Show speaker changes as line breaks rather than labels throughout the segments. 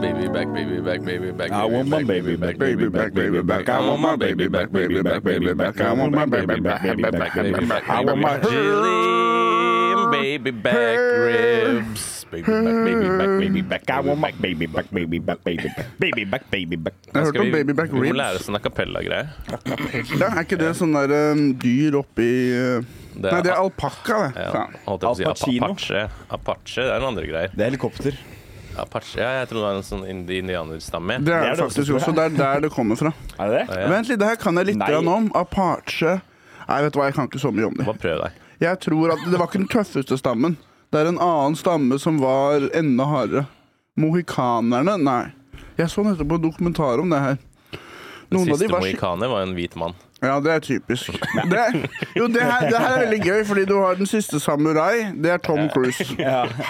baby back, baby back.
I want my baby back, baby back, baby back. I want my baby back, baby back, baby back. I want my baby back, baby back, baby back. I want my
Jillian baby back ribs. Baby back, baby back, baby back.
I want my baby back, baby back, baby back, baby back, baby back.
Jeg hørte
Skal
om
vi,
baby back
vi må lære
ribs.
oss en a cappella-greie.
Da, er ikke det sånn der um, dyr oppi uh,
er-
Nei, det er alpakka, det.
Ja,
Faen.
holdt jeg på å si
Al
Apa-
Pacino.
Apache. Apache, det er noen andre greier.
Det er helikopter.
Apache, ja, Jeg tror det var en sånn indi- indianerstamme.
Det er
det også,
det
tror
faktisk
jeg.
også. Det er der det kommer fra.
Er det det?
Ja.
Vent litt, det her kan jeg litt
Nei.
grann om. Apache Nei, vet du hva, jeg kan ikke så mye om det.
Bare prøv deg.
Jeg tror at Det var ikke den tøffeste stammen. Det er en annen stamme som var enda hardere. Mohikanerne? Nei. Jeg så nettopp en dokumentar om det her.
Den
Noen av de
siste
var sk-
mohikaner var jo en hvit mann.
Ja, det er typisk. Det, jo, det her, det her er veldig gøy, fordi du har den siste samurai. Det er Tom Cruise.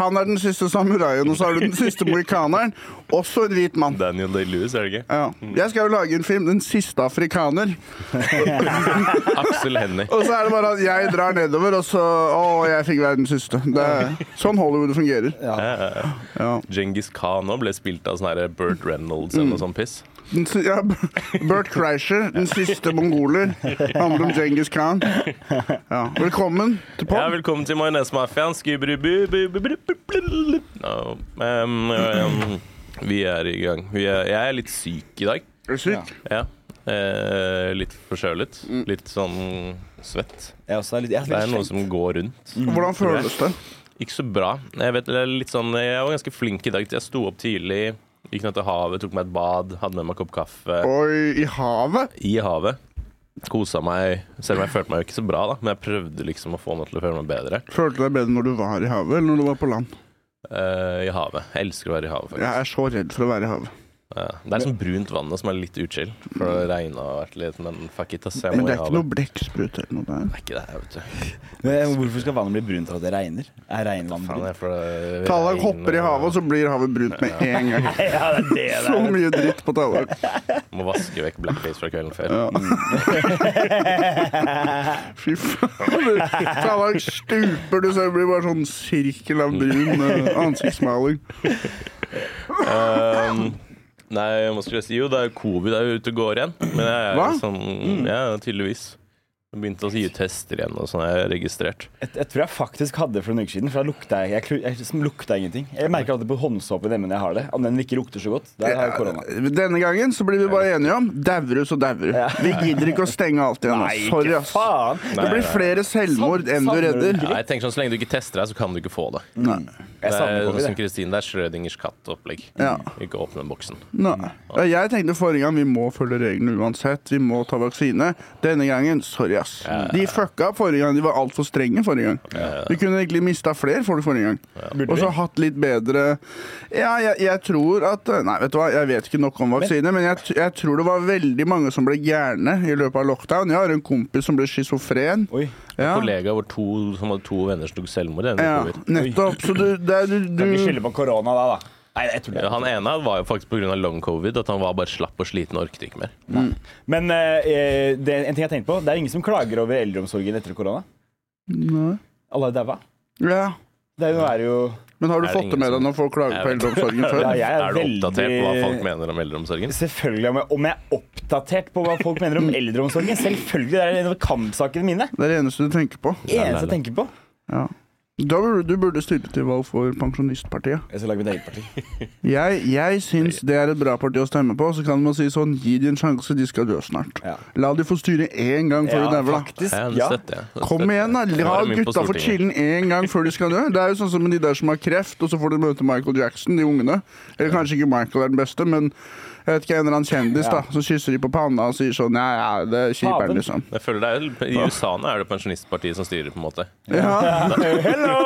Han er den siste samuraien, og så har du den siste mohikaneren. Også en hvit mann.
Daniel Day-Lewis, er det ikke?
Ja. Jeg skal jo lage en film, 'Den siste afrikaner'.
Aksel Hennie.
Og så er det bare at jeg drar nedover, og så Å, jeg fikk være den siste. Det er sånn Hollywood fungerer. Ja.
Djengis Khan òg ble spilt av sånn her Burt Reynolds eller noe sånt piss.
Den, si- ja, Bert Kreischer, 'Den siste mongoler', handler om Djengis Khan. Ja. Velkommen
Ja,
til Pop.
velkommen til Majonesmafiaen. Skubru- bu- bu- bu- bu- bu- bu- No. Um, um, Vi er i gang. Vi er, jeg er litt syk i dag.
Er du syk?
Ja. Eh, litt forkjølet. Litt sånn svett.
Jeg også er litt, jeg er
Det er
litt
noe
slem.
som går rundt.
Hvordan føles det?
Ikke så bra. Jeg, vet, det er litt sånn, jeg var ganske flink i dag. Jeg sto opp tidlig, gikk ned til havet, tok meg et bad, hadde med meg en kopp kaffe
Oi, i havet?
i havet. Kosa meg, selv om jeg følte meg jo ikke så bra, da. Men jeg prøvde liksom å få meg til å føle meg bedre
Følte du deg bedre når du var i havet, eller når du var på land?
eh, i havet. Jeg elsker å være i havet, faktisk.
Jeg er så redd for å være i havet.
Ja. Det er sånn brunt vannet som er litt utskill. For det har regna og vært litt Men fuck it, ass. Jeg
Men
må
det
i
er ikke noe
havet.
blekksprut eller noe der.
Det er ikke det her, vet du.
Men eh, Hvorfor skal vannet bli brunt av at det regner? Er regnvann
Faen,
brunt?
jeg får det
Tallak
regn
hopper i
og-
havet, og så blir havet brunt med en gang.
Ja, det er det det
Så
er.
mye dritt på Tallak.
Må vaske vekk blackface fra kvelden før.
Ja. Fy faen. Tallak stuper, du ser det blir bare sånn sirkel av brun eh, ansiktsmaling.
Um, nei, hva skulle jeg si? Jo, det er covid er jo ute og går igjen. Men jeg er
Hva? Mm.
jo sånn Ja, tydeligvis. Jeg Begynte å gi ut tester igjen og sånn. Jeg er registrert.
Jeg, jeg tror jeg faktisk hadde det for noen uker siden. For da lukta jeg, jeg, klu- jeg liksom lukta ingenting. Jeg merker alltid på håndsåpen hjemme når jeg har det. Om den ikke lukter så godt. Da har jeg korona.
Eh, Denne gangen så blir vi bare enige om dauer du, så dauer du. Vi gidder ikke å stenge alt igjen. ass. Sorry, ass.
faen!
Det blir flere selvmord enn du redder.
Ja, jeg tenker sånn, Så lenge du ikke tester deg, så kan du ikke få det.
Nei.
Det
Jeg savner
er sånn som
covid. jeg.
Kristine, det er Schrødingers katt-opplegg.
Ja.
Ikke åpne boksen.
Nei. Mm. Ja, Jeg tenkte forrige gang vi må følge reglene uansett. Vi må ta vaksine. Denne gangen, sorry, ass. De fucka opp forrige gang. De var altfor strenge forrige gang. Vi kunne egentlig mista flere folk forrige gang.
Burde
Og så
vi?
hatt litt bedre Ja, jeg, jeg tror at Nei, vet du hva, jeg vet ikke nok om vaksine, men jeg, t- jeg tror det var veldig mange som ble gærne i løpet av lockdown. Jeg har en kompis som ble schizofren.
Oi.
Ja.
kollega hvor to, som hadde to venner som tok selvmord. det er
ja,
under covid.
nettopp. Så du, det er, du,
Kan ikke
du
skylde på korona da, da. Nei, jeg tuller.
Ja, Han ene var jo faktisk pga. long covid. At han var bare slapp og sliten og orket ikke mer.
Men eh, det, er en ting jeg tenkte på, det er ingen som klager over eldreomsorgen etter korona.
Nei.
Alle er daua.
Ja.
Det er jo, nå er det jo
Men har du
Er det
fått det
ingen
med deg
som-
når folk klager på
Jeg vet ikke.
eldreomsorgen før?
Ja, jeg er
er du oppdatert på hva
veldig-
folk mener om eldreomsorgen?
Selvfølgelig om jeg, om jeg er oppdatert på hva folk mener om eldreomsorgen. Selvfølgelig, Det er en av kampsakene mine.
Det er det eneste du tenker på.
Det eneste jeg tenker på.
Ja. Da burde du burde stille til valg for Pensjonistpartiet.
Jeg skal lage mitt eget parti.
Jeg, jeg syns det er et bra parti å stemme på. Så kan man si sånn Gi de en sjanse, de skal dø snart.
Ja.
La de få styre én gang før de dauer, da.
faktisk.
Ja, det
Ja.
støtter jeg. Det
Kom
støtter jeg.
igjen, da.
Nå
La
er de inne på
gutta få
Stortinget.
chillen én gang før de skal dø. Det er jo sånn som med de der som har kreft, og så får de møte Michael Jackson, de ungene. Eller kanskje ikke Michael er den beste, men jeg vet ikke, en eller annen kjendis,
Ja.
da. Så kysser de på panna og sier sånn Ja, ja, det er
Paven.
kjiperen, liksom.
Jeg føler det er, jo- I USA nå er det pensjonistpartiet som styrer, på en måte.
Ja. Du må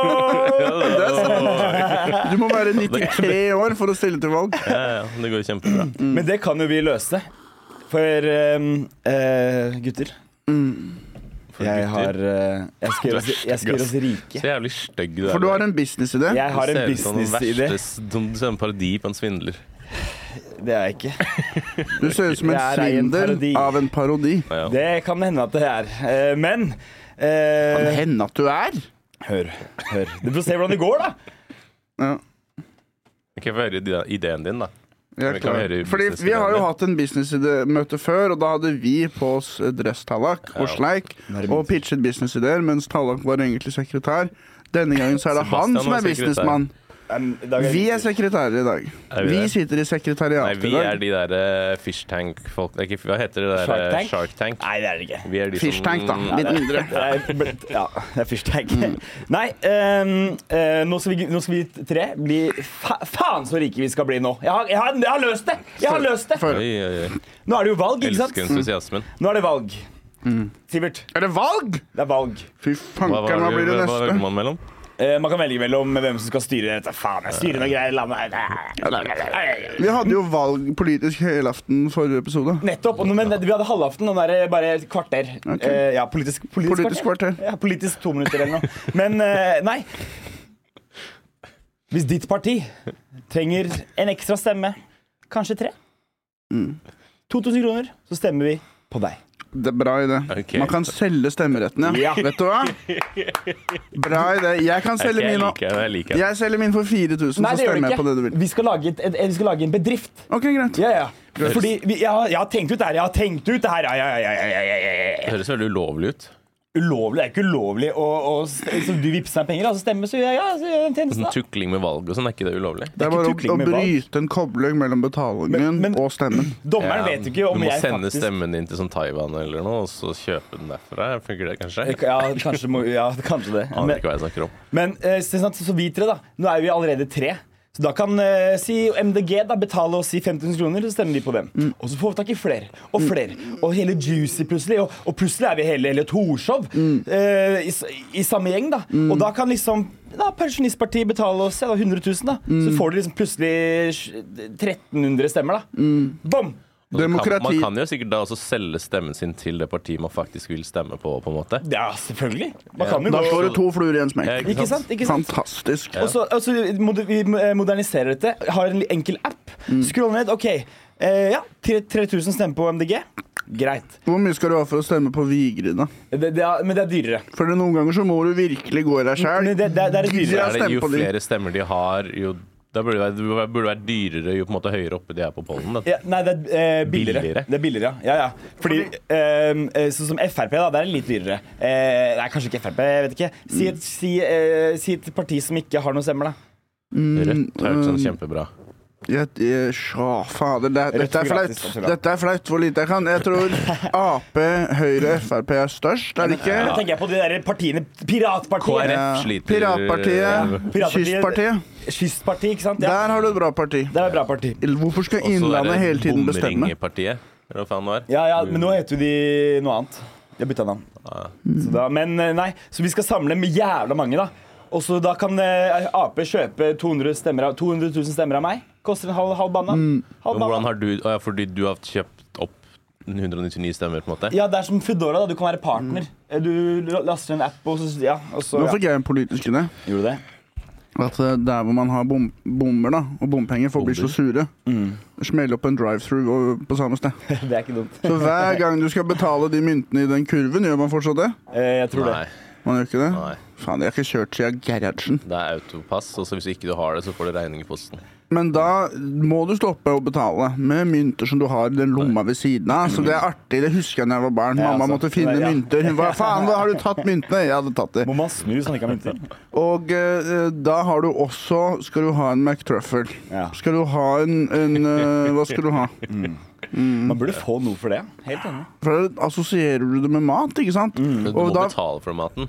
være 93 år for å stille til valg.
Ja, ja, det går jo kjempebra.
Men det kan jo vi løse. For ehm, eh, gutter. Mm. jeg har eh, Jeg skal gjøre oss, jeg skal gjøre oss rike.
Så jævlig stygg du er.
For du har en businessidé.
Jeg har en
ser ut som den
businessidé.
verste s- som- som en parodi på en svindler.
Det er jeg ikke.
Du ser ut som en
Jeg er ei en parodi.
svindel av en parodi.
Ja, ja.
Det kan hende at det er. Eh, men
Kan
eh,
hende at du er.
Hør, hør. Du får se hvordan det går, da.
Ja.
Ok, Få høre ide- ideen din, da.
Jeg er
Vi kan
klar.
gjøre det i
Fordi
business
vi har jo
tilbake.
hatt en businessidé-møte før, og da hadde vi på oss dress Tallak og Sleik
Nå er det
og pitchet businessideer, mens Tallak var egentlig sekretær. Denne gangen så er det
Sebastian
han som
var
er businessmann.
Um, i dag
Vi er sekretærer i dag.
Er vi
Vi
det?
sitter i
Nei,
sekretariatet
vi
i
er
dag.
de der eh, fish tank-folk Det er ikke- Hva heter det der?
Shark
eh,
Tank?
Shark Tank.
Nei, det er det ikke.
Vi er de
Fish
som-
tank, da.
Ja,
Litt mindre.
Det er bl- Ja, det er fyrsteik.
Mm.
Nei, ehm, eh, nå, skal vi, nå skal vi tre bli fa Faen så rike vi skal bli nå! Jeg har, jeg har, jeg har løst det! Jeg har løst det!
For-
Oi, oi, oi.
Nå er det jo valg, ikke
Elsker
sant?
entusiasmen.
Mm.
Nå er det valg. Sivert,
Er det valg?!
det er valg.
Fy
Hva,
fanken, hva
hva,
blir det
hva, hva velger
neste?
man mellom?
Eh, man kan velge mellom hvem som skal styre dette. Faen, jeg styrer noe greier i landet her.
Vi hadde jo valg politisk helaften forrige episode.
Nettopp. og nå- Men vi hadde halvaften og nå er det bare et kvarter. Eh, ja, politisk, politisk,
Politisk kvarter.
Ja, politisk to minutter eller noe. Men eh, nei. Hvis ditt parti trenger en ekstra stemme, kanskje tre,
Mm.
2000 kroner, så stemmer vi på deg.
Det er bra idé.
Ok.
Man kan selge stemmeretten,
Ja.
ja. Vet du hva? Bra idé. Jeg kan
Jeg
selge min
liker
òg.
det. Jeg liker det.
Jeg selger min for 4000, så
Nei, det gjør
stemmer
vi
jeg på det du
ikke.
vil.
Vi skal lage, et, et, vi skal lage en bedrift.
Ok, greit.
Ja, ja. Fordi vi, jeg, har, jeg har tenkt ut det her. Jeg har tenkt ut det her. Ja, ja, ja, ja, ja, ja, ja, ja.
Det høres veldig ulovlig ut.
ulovlig. Det er ikke ulovlig å, å så Du vippser meg penger, da, så stemmer så gjør jeg ja, så gjør jeg den tjenesten.
Sånn
da.
tukling med valg og sånn, er ikke det ulovlig?
Det er
ikke
bare å,
tukling
å
med valg.
bryte en kobling mellom betalingen
Men- men-
og stemmen.
Altså,
Dommeren
Ja,
vet jo ikke om
Du må
jeg
sende
faktisk
stemmen din til sånn Taiwan eller noe, og så kjøpe den derfra. Funker det kanskje?
Ja, kanskje, må, ja, kanskje det.
Aner
Men,
ikke hva jeg snakker om.
men eh, så, sant, så vi tre, da. Nå er vi allerede tre. Så da kan eh, si MDG da, betale oss i 5000 kroner, så stemmer vi på dem. Og så får vi tak i flere og flere. Og hele Juicy plutselig. Og, og plutselig er vi hele, hele Torshov eh, i, s- i samme gjeng. da. Og da kan liksom da, Pensjonistpartiet betale oss ja, da, 100 000. Da. Så får du liksom plutselig sj- 1300 stemmer. da. Bom!
Og så kan-
Demokrati.
Man kan jo sikkert da også selge stemmen sin til det partiet man faktisk vil stemme på, på en måte.
Ja, selvfølgelig. Man kan jo
Da
gå-
slår du to fluer i en smekk.
Ja,
Ikke sant? Ikke sant?
Fantastisk.
Og så og så moder- vi eh, moderniserer dette. Har en enkel app. Skroll ned. OK. Eh, ja, tre- 3000 stemmer på MDG. Greit.
Hvor mye skal du ha for å stemme på Vigrid, da?
Det, det er, men det er dyrere.
For noen ganger så må du virkelig gå i deg sjæl.
Men det, det, er- det er dyrere.
Er det,
stemmer
jo
på de.
flere stemmer de har, jo da burde det være- det burde være dyrere jo på en måte høyere oppe de er på pollen. da.
Ja, nei, det er eh, billigere.
Billigere?
Det er billigere, ja. ja, ja. Fordi ehm, eh, Sånn som Frp, da, det er litt dyrere. Eh, nei, kanskje ikke Frp. jeg vet ikke Si et, si, eh, si et parti som ikke har noen stemmer, da.
Rødt høres
Mm.
sånn kjempebra.
Sja, fader. Det, dette er flaut.
gratis,
Dette er flaut hvor lite jeg kan. Jeg tror Ap, Høyre, Frp er størst, er det ikke?
Da tenker jeg på de der partiene Piratpartiet.
KrF
Ja.
sliter
Piratpartiet.
Piratpartiet-
Kystpartiet.
Kystpartiet, ikke sant?
Der
Ja.
har du et bra parti.
Det er et bra parti.
Hvorfor skal
Og så er
Innlandet
det
hele tiden bestemme?
Bomringepartiet, eller hva faen det var.
Ja, ja,
Mm.
men nå heter jo de noe annet. Jeg bytta navn.
Ah,
Så da, men eh, nei, så vi skal samle med jævla mange, da. Og så da kan eh, Ap kjøpe 200, stemmer av, 200 000 stemmer av meg. Koster en halv, halv banan. Halv
Men hvordan
banan.
har du å ja, Fordi du har kjøpt opp 199 stemmer, på en måte?
Ja, det er som Foodora, da. Du kan være partner. Eh, Du la- laster en app, og så Ja, og så
Nå
ja.
fikk jeg en politisk idé.
Gjorde du det?
At eh, der hvor man har bom bommer da, og bompenger, folk blir så sure.
Mm.
Smell opp en drive-through og- på samme sted.
Det er ikke dumt.
Så hver gang du skal betale de myntene i den kurven, gjør man fortsatt det?
Eh, Jeg tror
Nei.
det.
Man gjør ikke det?
Nei.
Faen, jeg har ikke kjørt siden Gerhardsen.
Det er autopass, og så hvis ikke du har det, så får du regning i posten.
Men da må du stoppe å betale med mynter som du har i den lomma ved siden av. Så det er artig. Det husker jeg da jeg var barn.
Ja,
Mamma
altså.
måtte finne
Ja.
mynter. Hun var faen, hva har du tatt myntene? Jeg hadde tatt det.
Må man snu så man ikke har mynter?
Og eh, da har du også Skal du ha en McTruffle?
Ja.
Skal du ha en, en eh, Hva skal du ha?
Man burde få noe for det. Helt enig.
For da assosierer du det med mat, ikke sant?
Men Mm. du
Og
må
da-
betale for maten.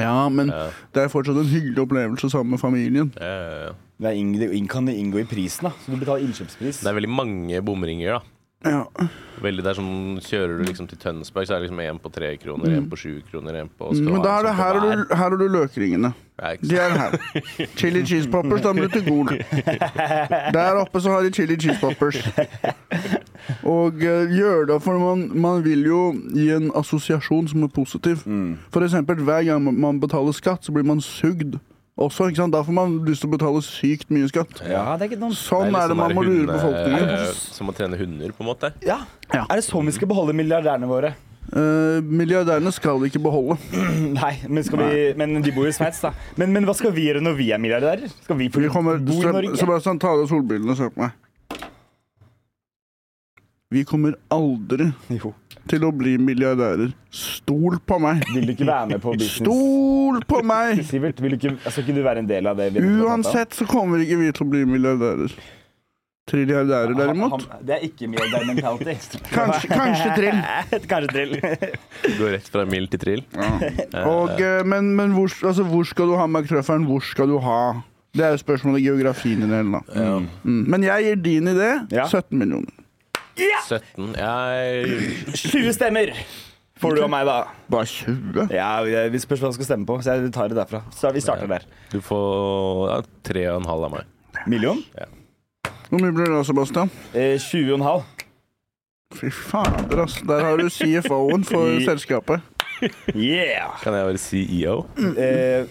Ja, men
Ja.
det er fortsatt en hyggelig opplevelse sammen med familien.
Ja, ja, ja.
Det er ing, det ing- kan inngå i prisen, da. Så du betaler innkjøpspris.
Det er veldig mange bomringer, da.
Ja.
Veldig, det er sånn, Kjører du liksom til Tønsberg, så er det liksom én på tre kroner, én på sju kroner, én på
Mm, Men da er det, her, har du, her har du løkringene. De
du
er her. Chili cheese poppers, da blir det til Gol. Der oppe så har de chili cheese poppers. Og eh, gjør det for man, man vil jo gi en assosiasjon som er positiv.
Mm.
For eksempel hver gang man- man betaler skatt, så blir man sugd også. ikke sant? Da får man lyst til å betale sykt mye skatt.
Ja, det er ikke dumt.
Sånn
liksom
er det man må lure
eh,
befolkningen.
eh, Som å trene hunder, på en måte.
Ja.
Ja.
Er det sånn vi skal beholde milliardærene våre?
Eh, milliardærene skal ikke beholde.
Nei, men, skal vi, men de bor i Sveits, da. Men, men hva skal vi gjøre når vi er milliardærer? Skal vi,
Vi kommer,
bo i Norge?
Sebastian, ta av deg solbrillene og se på meg. Vi kommer aldri
Jo.
til å bli milliardærer. Stol på meg!
Vil du ikke være med på business?
Stol på meg!
Sivert, vil du ikke, skal ikke du være en del av det? vi-
Uansett så kommer ikke vi til å bli milliardærer. Trilliardærer,
Han-
derimot.
han- Det er ikke milliardær mentality.
Kanskje, kanskje trill.
Kanskje drill.
Går rett fra mild til trill.
Og, eh, men men hvor, altså, hvor skal du ha McTrufferen? Hvor skal du ha Det er jo spørsmålet om geografien i det hele, da. Mm. Men jeg gir din idé
Ja.
17 millioner.
17 Jeg
20 stemmer får du av meg, da.
Bare 20?
Ja, jeg- Vi spørs hva jeg skal stemme på, så jeg tar det derfra. Så vi starter der.
Du får ja, tre og en halv av meg.
Million?
Hvor mye blir det da, Sebastian?
Eh, 20,5.
Fy fader, ass. Der har du CFO-en for
I-
selskapet.
Yeah!
Kan jeg E være CEO?
Eh, ja, det-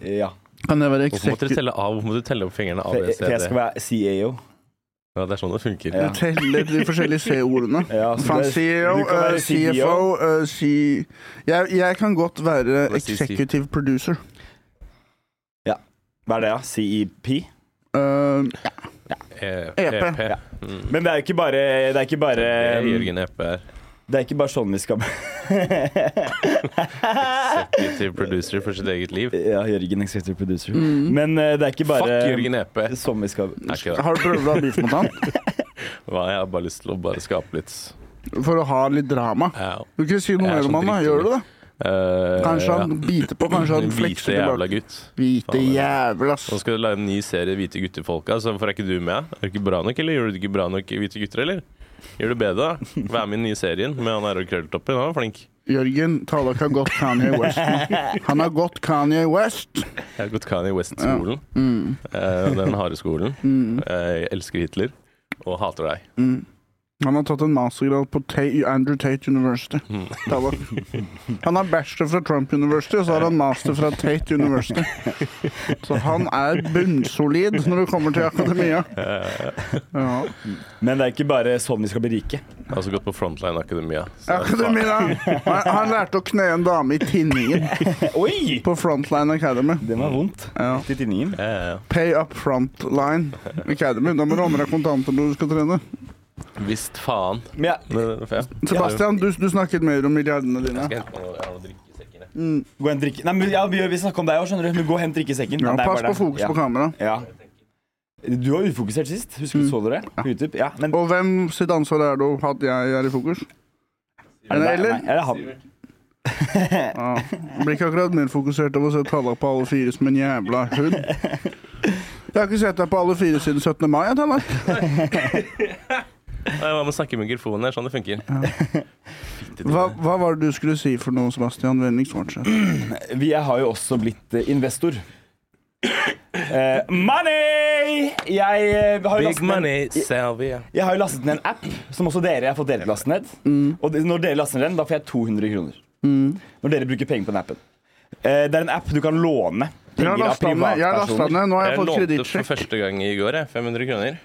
eh, ja.
Kan jeg
Hvorfor måtte
være
du
executive?
telle av? Hvorfor må du telle opp fingrene? A,
For
B,
jeg
C,
for jeg skal
D?
være CAO.
Ja, det er sånn det funker.
Ja.
Telle de forskjellige C-ordene.
Ja,
Altså,
så
Fan
det-
CEO,
du kan være E
eh, CFO, eh, C... Jeg, jeg kan godt være
Hva sier
executive producer.
Hva er det, E da? CEP?
E-
Eh,
Um,
EP.
EP.
Ja.
Mm.
Men det er jo ikke bare Det er ikke bare,
Det er Jørgen EP her.
det er ikke bare sånn vi skal
Executive producer for sitt eget liv.
Ja, Jørgen executive producer.
Mm.
Men eh, det er ikke bare
Fuck Jørgen EP. Er
Sånn vi skal
ikke det.
har du prøvd å ha beef mot han?
Hva, Jeg har bare lyst til å bare skape litt
For å ha litt drama.
Au.
Du kan ikke si noe
Jeg er
mer
sånn
om han, da. Gjør du det?
Eh,
Kanskje han
ja.
biter på, kanskje han
Hvite
flekser
jævla
tilbake.
gutt.
Hvite
Faen,
jævla,
Nå
ass.
skal du lage en ny serie Hvite gutter-folka, så hvorfor er ikke du med? Er du ikke bra nok, eller gjør du det ikke bra nok i Hvite gutter, eller? Gjør du bedre, da? Vær med i den nye serien med han Errol Krølltoppen, han var flink.
Jørgen Tallak har gått Kanye West. nå. Han har gått Kanye West. Mm,
Jeg har gått Kanye West-skolen. Eh, den harde skolen. Eh, jeg elsker Hitler. Og hater deg.
Mm. Han har tatt en mastergrad på Ta Andrew Tate University. Tallak. Han har bachelor fra Trump University, og så har han master fra Tate University. Så han er bunnsolid når det kommer til akademia. Ja.
Men det er ikke bare sånn vi skal bli rike.
Jeg har også gått på Frontline Akademia. så-
Akademia! Han han lærte å kne en dame i tinningen
Oi!
på Frontline Academy.
Den var vondt.
Ja.
Til tinningen.
Ja, ja, ja.
Pay up front line Academy. Da må du ha med deg kontanter når du skal trene.
Visst faen.
Men ja,
Men, for jeg-
Sebastian, du, du snakket mer om milliardene dine.
Jeg skal hente meg noe- jeg har noe drikke i sekken, jeg.
gå og hent drikke... Nei, men ja, vi, vi snakker om deg òg, skjønner du. Men gå og hent drikkesekken.
Ja,
Nei, det er
pass
bare
på
det.
fokus
ja.
på kamera.
Ja. Du var ufokusert sist. Husker du
Mm.
så dere? På YouTube. Ja, men
Og hvem sitt ansvar er det at jeg er i fokus? Er det
Nei,
Eller?
nei, er det han?
Ja. Blir ikke akkurat mer fokusert av å se Tallak på alle fire som en jævla hund. Jeg har ikke sett deg på alle fire siden 17. mai. jeg, Tallak.
Nei, Jeg må snakke i mikrofonen, det er sånn det funker.
Hva, hva var det du skulle si for noe, Sebastian? Vennligst fortsett.
Vi jeg har jo også blitt eh, investor. Eh, money! Jeg, eh, har
Big
jo lastet ned,
money, Salvia.
jeg har jo lastet ned en app som også dere har fått dere til å laste ned. Og det- når dere laster ned den, da får jeg 200 kroner. Når dere bruker penger på den appen. Eh, det er en app du kan låne.
Jeg
penger
har
av
lasta ned. Jeg har lastet
privatpersoner.
ned. Nå har
Jeg
jeg fått
lånte for
kredittsjekk
første gang i går, jeg. 500 kroner.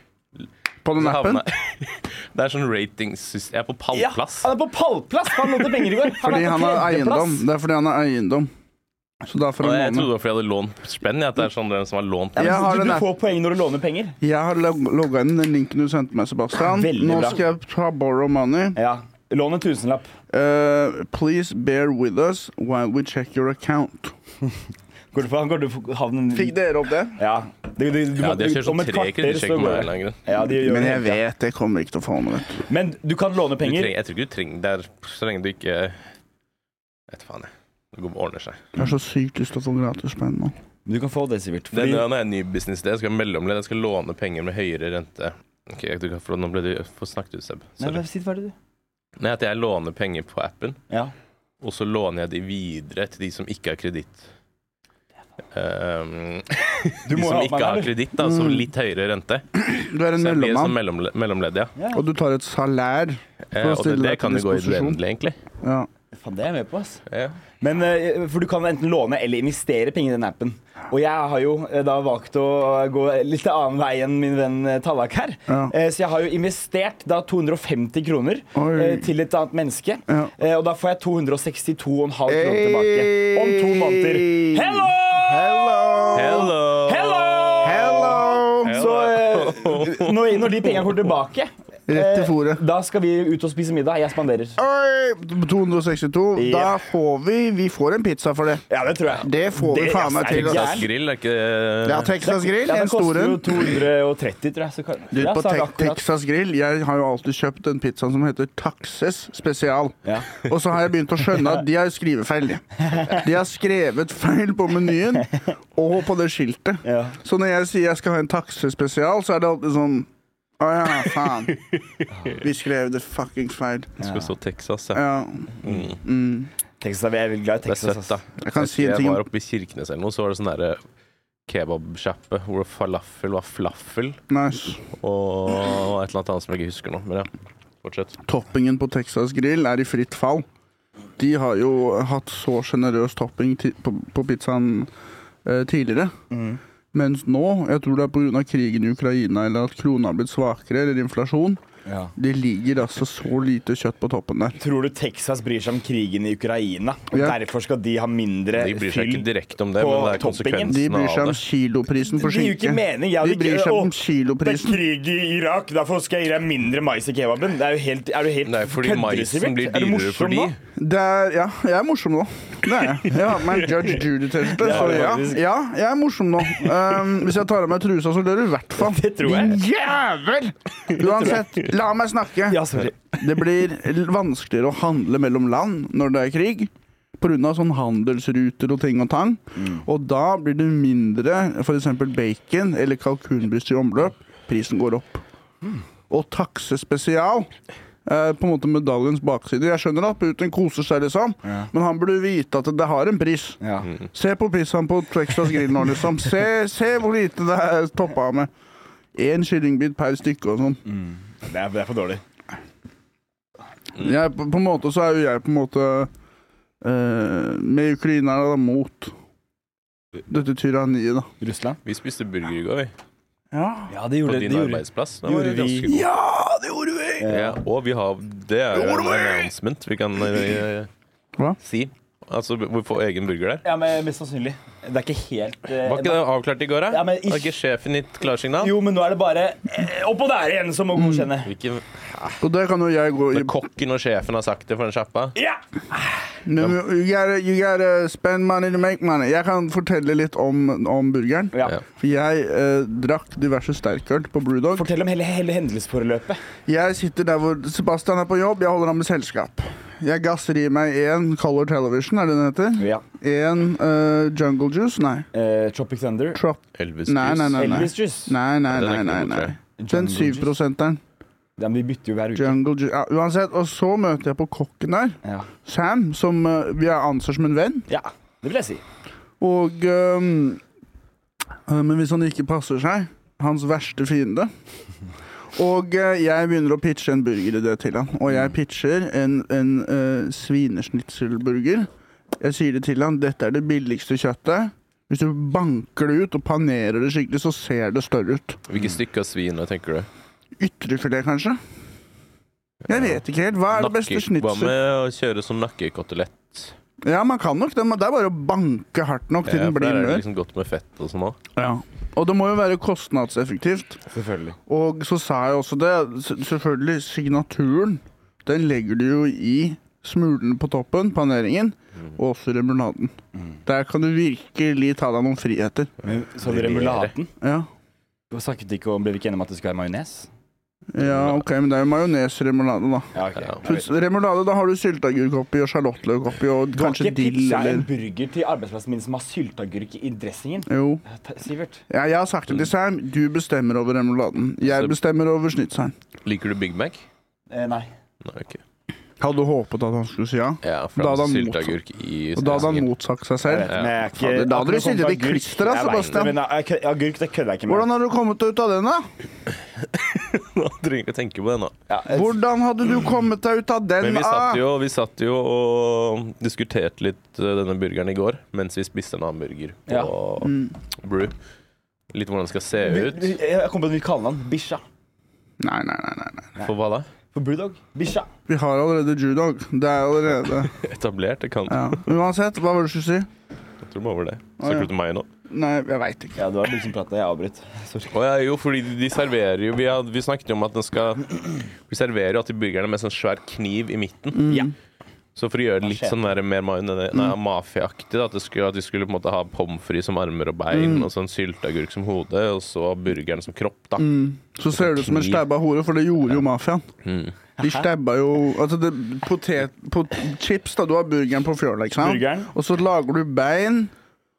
på den
Så
appen.
havna- Det er sånn ratingsystem. Jeg er på
Ja,
pallplass.
han er på pallplass! for Han lånte penger i går. Han
Fordi
er på
han har
tredjeplass.
eiendom. Det er fordi han har eiendom. Så da får
Og
han
jeg trodde
låne.
det var fordi jeg hadde lånt spenn. jeg, At det er sånn den som har lånt
Ja, men
Jeg
så
har
du,
den
du
appen.
får poeng når du låner penger.
Jeg har logga inn den linken du sendte meg, Sebastian.
Veldig
Nå
bra.
skal jeg ta borrow money.
Ja. Lån en tusenlapp.
Uh, please bear with us while we check your account.
Går du for, han går du for havnen
Fikk dere opp det?
Ja. Det, det, du,
Ja,
må-
de kjører
om
sånn
et
tre
kvarter så
kredittsjekk
går
med en
det.
eller annen grunn.
Ja, de gjør
Men
det.
jeg vet jeg kommer ikke til å få noe. vet du.
Men du kan låne
Du
penger.
trenger, jeg tror ikke du trenger det er så lenge du ikke Jeg vet faen, jeg. Det går- ordner seg.
Jeg har så sykt lyst til å få gratis penn nå.
Du kan få det, Sivert.
Det,
Fordi,
nå er en ny business det. Jeg skal mellomledd. Jeg skal låne penger med høyere rente. Ok, du kan få, Nå ble du få snakket ut, Seb.
Nei,
Sorry.
vær- sitt ferdig, du.
Nei, at jeg låner penger på appen,
Ja.
og så låner jeg de videre til de som ikke har kreditt. Um,
Du
de
må
som
ha
ikke har
meg, eller?
kreditt, da, så litt høyere rente.
Du er en
Så jeg blir sånn
mellommann,
mellomle- mellomledd, ja.
Ja.
og du tar et salær.
Eh, og det,
stille
det
deg
kan
til
jo gå i det
disposisjon.
uendelige, egentlig.
Ja.
Faen, det er jeg med på, ass.
Ja.
Men, eh, for du kan enten låne eller investere penger i den appen. Og jeg har jo eh, da valgt å gå litt annen vei enn min venn eh, Tallak her.
Ja.
Eh, Så jeg har jo investert da 250 kroner
Oi.
eh, til et annet menneske.
Ja.
Eh, Og da får jeg 262,5 kroner tilbake om to måneder. Hello!
Hello!
Hello!
Hello!
Hello!
Så eh, når, når de pengene kommer tilbake
Rett til
Eh,
fôret.
Da skal vi ut og spise middag. Jeg spanderer.
Oi, 262.
Ja.
Da får vi Vi får en pizza for det.
Ja, det tror jeg.
Det får vi
Det-
faen meg
er
til.
det
ass.
Texas grill er ikke
Ja, Texas Grill,
Ja,
en
den koster
stor en.
jo 230, tror jeg. Så kan...
Du,
Ja, så
på
er det
te
akkurat-
Texas Grill Jeg har jo alltid kjøpt den pizzaen som heter Taxes Spesial.
Ja.
Og så har jeg begynt å skjønne at de har skrivefeil. de. De har skrevet feil på menyen og på det skiltet.
Ja.
Så når jeg sier jeg skal ha en taksespesial, så er det alltid sånn Å ja, faen. Vi skrev det fuckings feil.
Det skal stå Texas, ja.
Ja. Mm.
Texas er jeg er veldig glad i
Det er
Texas.
søtt, da.
ass.
Jeg kan si en
Jeg
ting
var oppe i Kirkenes eller noe, så var det sånn derre kebabsjappe hvor falafel var flaffel,
Nice.
og et eller annet annet som jeg ikke husker nå. Men ja, fortsett.
Toppingen på Texas Grill er i fritt fall. De har jo hatt så sjenerøs topping ti- på, på pizzaen eh, tidligere.
Mm.
Mens nå, jeg tror det er pga. krigen i Ukraina eller at krona har blitt svakere, eller inflasjon,
Ja.
det ligger altså så lite kjøtt på toppen der.
Tror du Texas bryr seg om krigen i Ukraina? Og
Ja.
Derfor skal de ha mindre
Eh,
De bryr seg ikke direkte om det,
på
men det er
toppingen.
konsekvensen
De bryr
av
seg om
det.
kiloprisen for
Det gir jo
skinke.
ikke mening. Jeg hadde
De bryr
ikke-
seg
Å,
om
Det er
kiloprisen.
krig i Irak, derfor skal jeg gi deg mindre mais i kebaben. Det er jo helt, er du helt
Det er fordi
kødder, Sivert?
maisen blir
Er du
dyrere
morsom
for de.
nå?
Det er, ja, jeg er morsom nå. Det er jeg. Jeg har på meg Judge Judy-T-skjorte, så ja,
faktisk.
ja, jeg er morsom nå. Um, hvis jeg tar av meg trusa, så dør du i hvert fall.
Det tror jeg.
Din jævel! Uansett, la meg snakke.
Ja, sorry.
Det blir l- vanskeligere å handle mellom land når det er krig. Pga. sånn handelsruter og ting og tang.
Mm.
Og da blir det mindre f.eks. bacon eller kalkunbryst i omløp. Prisen går opp.
Mm.
Og taksespesial eh, på en måte medaljens bakside. Jeg skjønner at Putin koser seg, liksom,
Ja.
men han burde vite at det har en pris.
Ja.
Se på pizzaen på Texas Grill nå, liksom. Se, se hvor lite det er toppa av med. Én kyllingbit per stykke og sånn.
Det, er, det er for dårlig. Mm.
Jeg, på, på en måte så er jo jeg på en måte eh, med ukrainerne da mot dette tyranniet, da.
Russland?
Vi spiste burger i går, vi.
Ja,
Ja, det
På
gjorde
din arbeidsplass. Den var
gjorde vi-
ganske god. Eh.
det gjorde vi!
Ja, og vi har Det er jo en announcement vi kan eh,
Hva?
si. Altså, vi får egen burger der.
Ja, men Mest sannsynlig. Det er ikke helt eh,
Var ikke det avklart i går, da?
Ja, men
Har ikke sjefen gitt klarsignal?
Jo, men nå er det bare eh, opp og der igjen som må godkjenne.
Hvilken
Og det kan jo jeg gå i
Når kokken og sjefen har sagt det for den sjappa?
Ja!
Men you gotta, you gotta spend money to make money. Jeg kan fortelle litt om, om burgeren.
ja.
Ja.
For jeg eh, drakk diverse sterkøl på Brewdog.
Fortell om hele, hele hendelsesforløpet.
Jeg sitter der hvor Sebastian er på jobb, jeg holder ham med selskap. Jeg gasser i meg én Color Television, er det den heter?
Ja.
Én eh, Jungle Juice? Nei.
Eh, Tropic Thunder.
Trop.
Elvis
Nei, nei, nei. nei.
Elvis Juice.
Nei, nei,
Den er
nei,
ikke
nei,
god, tror
nei.
jeg.
Den syvprosenteren.
Ja, men vi bytter jo hver uke.
Jungle Juice. Ja, uansett. Og så møter jeg på kokken der,
Ja.
Sam, som eh, vi anser som en venn.
ja, det vil jeg si.
Og ehm, eh, Men hvis han ikke passer seg Hans verste fiende. Og eh, jeg begynner å pitche en burgeridé til han. Og
Mm.
jeg pitcher en, en eh, svinesnitzelburger. Jeg sier det til han, dette er det billigste kjøttet. Hvis du banker det ut og panerer det skikkelig, så ser det større ut.
Hvilke stykker av svin tenker du?
Ytrefilet, kanskje? Jeg vet ikke helt. Hva er det beste
Nakke- Hva
snitsel?
med å kjøre som nakkekotelett?
Ja, man kan nok det, men det er bare å banke hardt nok til
Ja,
den
for
blir
der er det
mør.
liksom godt med fett og sånn òg.
Ja. Og det må jo være kostnadseffektivt.
Selvfølgelig.
Og så sa jeg også det, s- selvfølgelig signaturen, den legger du jo i smulen på toppen, paneringen,
Mm.
og også remunaden. Der kan du virkelig ta deg noen friheter.
Men, så hadde remulaten.
Ja.
Du snakket ikke om, Ble vi ikke enige om at det skulle være majones?
ja, ok, men det er jo majonesremulade, da.
Ja, ok.
Ja.
Jeg vet.
Plutselig- Remulade, da har du sylteagurk oppi og sjalottløk oppi og
Du kan
kanskje
ikke
dill
pitche en
eller
burger til arbeidsplassen min som har sylteagurk i dressingen.
Jo.
Ta- Sivert.
Ja, jeg har sagt det til Sam, du bestemmer over remuladen. Jeg
Så-
bestemmer over snitseren.
Liker du Big Mac?
Eh, nei.
Nei, ok.
Hadde håpet at han skulle si ja.
Ja,
Da
for
hadde
han
han
sylteagurk i
Og da hadde han
dressingen.
motsagt seg
Jeg
selv.
vet, men jeg er ikke,
Fader, da hadde du
akkurat sånn
sittet i
på agurk-
klister, da,
Jeg vet det,
Sebastian.
men, eh, kø- Agurk, det kødder jeg ikke med.
Hvordan har du kommet deg ut av den, da?
Nå trenger jeg ikke tenke på det nå.
Ja, eh,
Hvordan hadde du kommet deg ut av den?
Men vi satt,
ah?
jo, vi satt jo og diskuterte litt eh, denne burgeren i går mens vi spiste en annen burger på
Ja.
Mm.
Brew. Litt hvordan den skal se ut.
vi- vi- Jeg kom på et nytt kallenavn. Bisha.
Nei, nei, nei, nei, nei.
For hva da?
For Brewdog. Bisha.
Vi har allerede Judog. Det er allerede
Etablert? Det kan
ja. Uansett, hva var det du skulle si?
Jeg tror det var over det.
Å, ja.
Snakker du til meg nå?
Nei, jeg veit ikke.
Ja, det var du som prata. Jeg avbrøt. Sorry.
Å ja, jo, fordi de serverer jo Vi, had, vi snakket jo om at den skal Vi serverer jo alltid burgerne med sånn svær kniv i midten.
Mm.
Ja.
Så for å gjøre det
Ah,
litt sånn der, mer majonen- nei, mafiaaktig, da, at, det skulle- at de skulle på en måte ha pommes frites som armer og
Mm.
bein, og sånn sylteagurk som hode, og så burgeren som kropp, da.
Mm. Så ser det ut som en
Kniv.
stabba hore, for det gjorde jo mafiaen.
Mm.
De stabba jo Altså, det, potet, pot, chips, da. Du har burgeren på fjøla, ikke sant?
Burgeren.
Og så lager du bein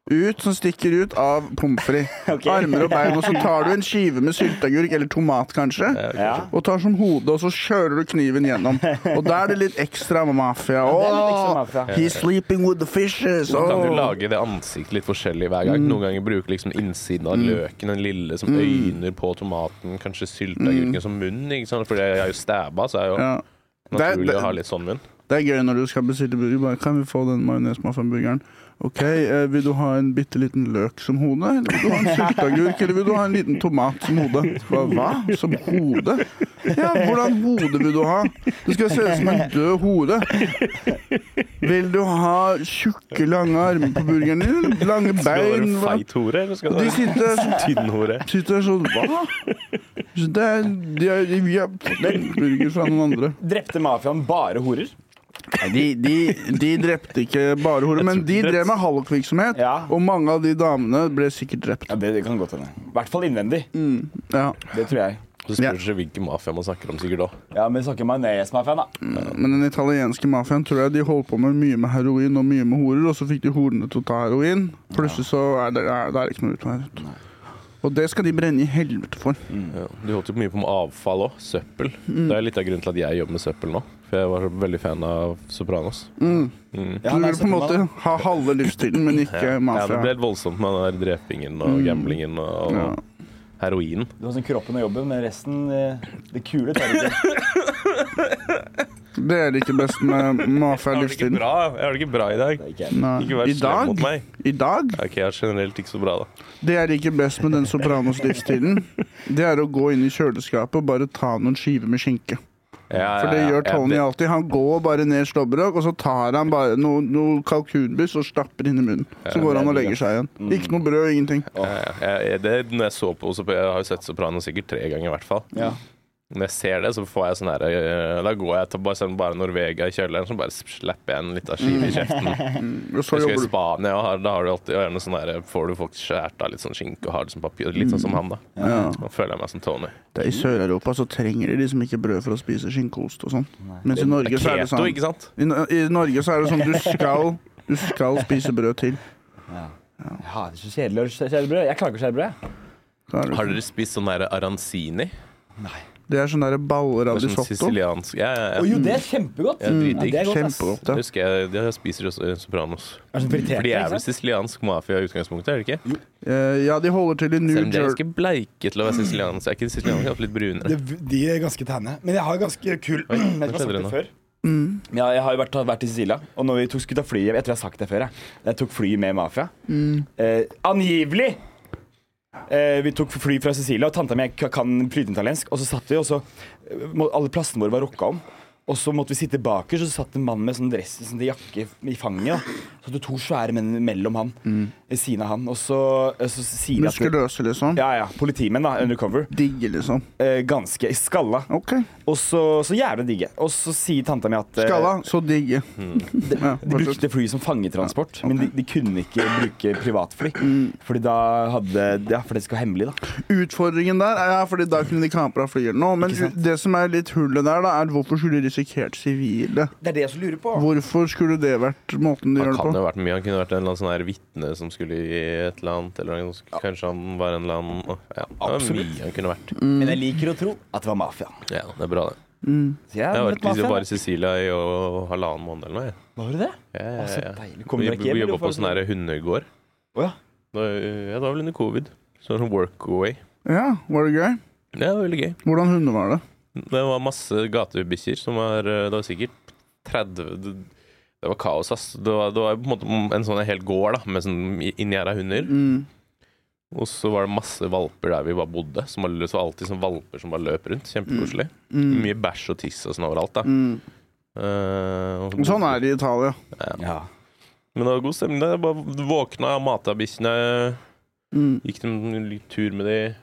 ut som stikker ut av pommes frites.
Ok.
Armer og bein. Og så tar du en skive med sylteagurk, eller tomat kanskje,
Ja.
og tar som hode, og så kjører du kniven gjennom. Og da er det litt ekstra mafia.
det er litt
Åh,
ekstra mafia.
he's sleeping with the fishes.
Så kan du
Åh. Mm.
lage det ansiktet litt forskjellig hver gang. Noen ganger bruker liksom innsiden av løken, den lille som øyner på tomaten, kanskje sylteagurken som munn, ikke sant? Fordi jeg er jo stabba, så er jo
Mm. Ja.
naturlig
Det- det-
å ha litt sånn munn.
Det er gøy når du skal bestille burger. Bare, kan vi få den majonesmafiaburgeren? Ok, eh, vil du ha en bitte liten løk som hode? Eller vil du ha en sylteagurk? Eller vil du ha en liten tomat som hode? Hva? hva? Som hode? Ja, hvordan hode vil du ha? Det skal se ut som en død hode. Vil du ha tjukke, lange armer på burgeren din? Eller lange
Skal du
bein?
være
Hva?
feit hore, eller skal du
De
være
sitter der sånn
tynn hore?
Sitter der sånn Hva? Så Det er, de er, vi har fått en burger fra noen andre.
Drepte mafiaen bare horer?
Nei, De, de, de drepte ikke bare horer, men de drev med hallikvirksomhet.
Ja.
Og mange av de damene ble sikkert drept.
Ja, det, det kan godt hende. I hvert fall innvendig.
Mm. Ja.
Det tror jeg.
Så spør du seg hvilken mafia man snakker om sikkert da.
Ja, men snakker majones-mafiaen, da.
Men den italienske mafiaen tror jeg de holdt på med mye med heroin og mye med horer, og så fikk de horene til å ta heroin. Plutselig så er det, er, det er ikke noe utvei. vet du. Og det skal de brenne i helvete for.
Ja. Du holdt jo mye på med avfall òg. Søppel.
Mm.
Det er litt av grunnen til at jeg jobber med søppel nå. For jeg var så veldig fan av Sopranos.
Ja,
Du
han er
vil på en måte
søppelmann,
ha halve livsstilen, men ikke
Ja, det ble
mafia. Mm.
helt voldsomt med den der drepingen og gamblingen og,
Ja.
og heroinen.
da. Du har sånn kroppen og jobben, men resten eh, Det kule tar du ikke.
Det er det ikke best med mafia-livsstilen.
bra. Jeg har det ikke bra i dag.
Det er ikke jeg.
Ikke vær
I
slem
dag,
mot meg.
I dag
Ok, jeg er generelt ikke så bra, da.
Det er ikke best med den Sopranos-livsstilen. Det er å gå inn i kjøleskapet og bare ta noen skiver med skinke. For det gjør Tony alltid. Han går bare ned slåbrok, og så tar han bare noe, noe kalkunbuss og stapper inn i munnen. Så går han og legger seg igjen.
Mm.
Ikke noe brød, ingenting.
Jeg, det, når jeg, så på, Sopra- jeg har jo sett Sopranos sikkert tre ganger, i hvert fall.
Ja.
Når jeg ser det, så får jeg sånn her øh, Da går jeg til bare, sånn, bare Norvega i kjøleren, så bare slapper jeg en liten skive i kjeften.
Og så
Jeg husker i
jobber du.
Spania og har, da har du alltid gjerne sånn der, får du folk skjært av litt sånn skinke og har det som papir. Litt sånn som han, da.
Mm. Ja.
Nå føler jeg meg som Tony.
Det er I Sør-Europa så trenger de liksom ikke brød for å spise skinkeost og sånn. Mens i
Det
Norge
er
så er det
keto,
sånn
ikke sant?
I, No- i Norge så er det sånn du skal, du skal spise brød til.
Ja, det er så kjedelig å skjære brød. Jeg klarer ikke å skjære brød. jeg.
Da er det-
Har dere spist sånn der arancini?
Det er sånn derre baller av
Det er sånn
risotto.
siciliansk Ja, ja,
Å
ja.
jo, det er kjempegodt.
Ja, dritdigg.
det er godt, ass.
Kjempegodt.
Det husker jeg, de spiser også i Sopranos.
Det er sånn fritert,
For de er
ikke
vel
sant?
siciliansk mafia i utgangspunktet, er de ikke?
Eh, Ja, de holder til i New
Selv om de er
Jersey.
ganske bleike til å
Mm.
være sicilianske. Er ikke sicilianske alltid litt brunere?
Det, de er ganske tenne. Men jeg har ganske kul
Oi,
Jeg tror jeg har
hva skjedde
sagt
det
det
nå?
før.
Ja, jeg har jo vært, vært i Sicilia, og når vi tok, skulle ta fly Jeg tror jeg har sagt det før, jeg. Jeg tok fly med mafia. Eh, angivelig! Eh, vi tok fly fra Sicilia, og tanta mi k- kan flytende italiensk. Og så satt vi, og så eh, må- Alle plassene våre var rocka om. Og så måtte vi sitte bakerst, og så satt en mann med sånn dress sånn jakke i fanget. da. Så hadde to svære menn mellom han, ved siden av han. Og så, eh, så sier de at
Muskuløse, liksom.
Ja, ja. Politimenn, da. Undercover.
Digge, liksom.
Eh, ganske skalla.
Ok.
Og så, så jævlig digge. Og så sier tanta mi at eh,
Skalla, så digge. Ja,
De hmm. brukte flyet som fangetransport, men de, de kunne ikke bruke privatfly. Fordi da hadde Ja, for det skulle være hemmelig, da.
Utfordringen der er ja, fordi da kunne de kapra flyet nå. Men
Ikke sant?
det som er litt hullet der, da, er hvorfor skulle de risikert sivile?
Det er det jeg også lurer på.
Hvorfor skulle det vært måten de
Han
gjør
kan jo
det på?
ha vært mye. Han kunne vært en eller annen sånn her vitne som skulle i et eller annet. Eller han skulle- kanskje han var en eller annen ja, Det var
Absolutt.
mye han kunne vært.
Men jeg liker å tro at det var mafiaen.
Ja, det er bra, det.
Så jeg
Jeg har
har møtt
vært
mafiaen.
bare i Sicilia i å- halvannen måned eller noe. jeg.
Var du det?
Ja, ja,
Å, så
ja.
deilig. Kom
Vi,
dere ikke hjem,
vi
eller
jobba på
hvorfor-
sånn her hundegård.
Å ja.
Da, ja, det var vel under covid. Sånn workaway.
Ja, var det gøy?
Ja, det var veldig gøy.
Hvordan hunder var det?
Det var masse gatebikkjer som var eh, Det var sikkert 30 Det, det var kaos, ass. Det var, det var på en måte en sånn hel gård da med sånn inngjerda hunder.
Mm.
Og så var det masse valper der vi bare bodde. Som var, så var det alltid sånn valper som bare løp rundt. Kjempekoselig.
Mm.
Mye bæsj og tiss og sånn overalt. da
Mm.
Eh, og-
Sånn er det i Italia.
ja.
Men det var god stemning der. Jeg bare våkna, mata bikkjene,
Mm.
gikk en litt tur med de.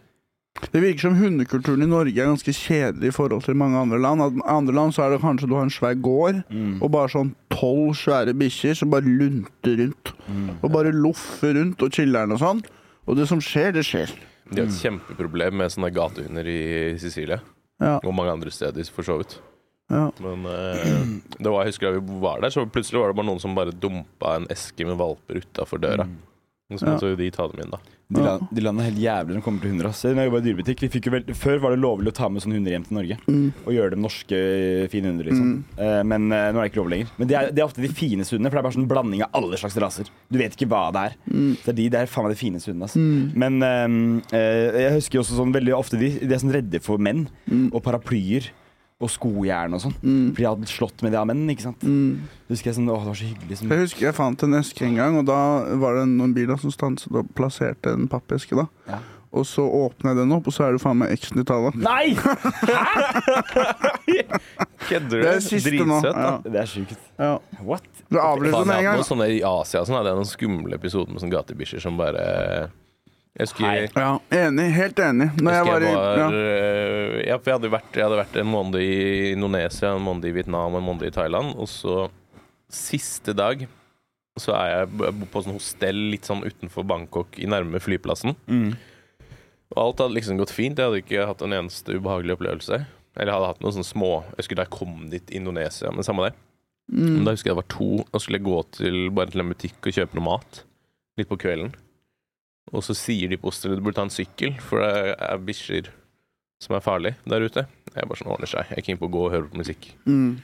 Det virker som hundekulturen i Norge er ganske kjedelig i forhold til mange andre land. At i andre land så er det kanskje du har en svær gård,
Mm.
og bare sånn tolv svære bikkjer som bare lunter rundt.
Mm.
Og bare loffer rundt og chiller'n og sånn. Og det som skjer, det skjer.
De har
Mm.
et kjempeproblem med sånne gatehunder i Sicilia.
Ja.
Og mange andre steder, for så vidt.
Ja.
Men eh, det var, jeg husker da vi var der, så plutselig var det bare noen som bare dumpa en eske med valper utafor døra. Og så
Mm. Ja.
måtte jo de ta dem inn, da.
De, la, de landa helt jævlig når det kommer til hunder. ass. Når jeg jobbet i dyrebutikk, vi fikk jo vel, Før var det lovlig å ta med sånne hunder hjem til Norge. Og gjøre dem norske eh, fine hunder. liksom Eh, Men eh, nå er det ikke lov lenger. Men det er, det er ofte de fineste hundene, for det er bare sånn blanding av alle slags raser. Du vet ikke hva det er. Det er de det er faen meg de fineste hundene. ass. Men eh, eh, jeg husker jo også sånn veldig ofte de, de er sånn redde for menn og paraplyer. Og skojern og sånn. For de hadde slått med det av menn. ikke sant? Husker jeg sånn, åh, det var så hyggelig sånn.
Jeg husker jeg fant en eske en gang, og da var det noen biler som stanset og plasserte en pappeske. da.
Ja.
Og så åpna jeg den opp, og så er det faen meg eksen i talla.
Nei!
Kødder du?
Det er siste nå.
Dritsøt,
Ja.
da.
Det er sjukt.
Ja.
What?
Du avlyser
Faen,
med
jeg hadde
en gang.
noen sånne i Asia og sånn, hadde jeg noen skumle episoder med sånne gatebikkjer som bare Jeg husker,
Hei.
jeg
Ja, Enig. Helt enig. Når
husker
jeg var i
jeg
ja.
var eh, ja, for jeg hadde, vært, jeg hadde vært en måned i Indonesia, en måned i Vietnam, en måned i Thailand, og så siste dag så er jeg b- bo på sånn hostell litt sånn utenfor Bangkok, i nærme flyplassen. Og alt hadde liksom gått fint. Jeg hadde ikke hatt en eneste ubehagelig opplevelse. Eller jeg hadde hatt noen sånne små Jeg husker da jeg kom dit, Indonesia, men samme det.
Mm.
Men da husker jeg det var to, og skulle jeg gå til, bare til en butikk og kjøpe noe mat. Litt på kvelden. Og så sier de på hostelet du burde ta en sykkel, for det er bikkjer som er farlig der ute. Jeg er bare sånn ordner seg. Jeg er keen på å gå og høre på musikk.
mm.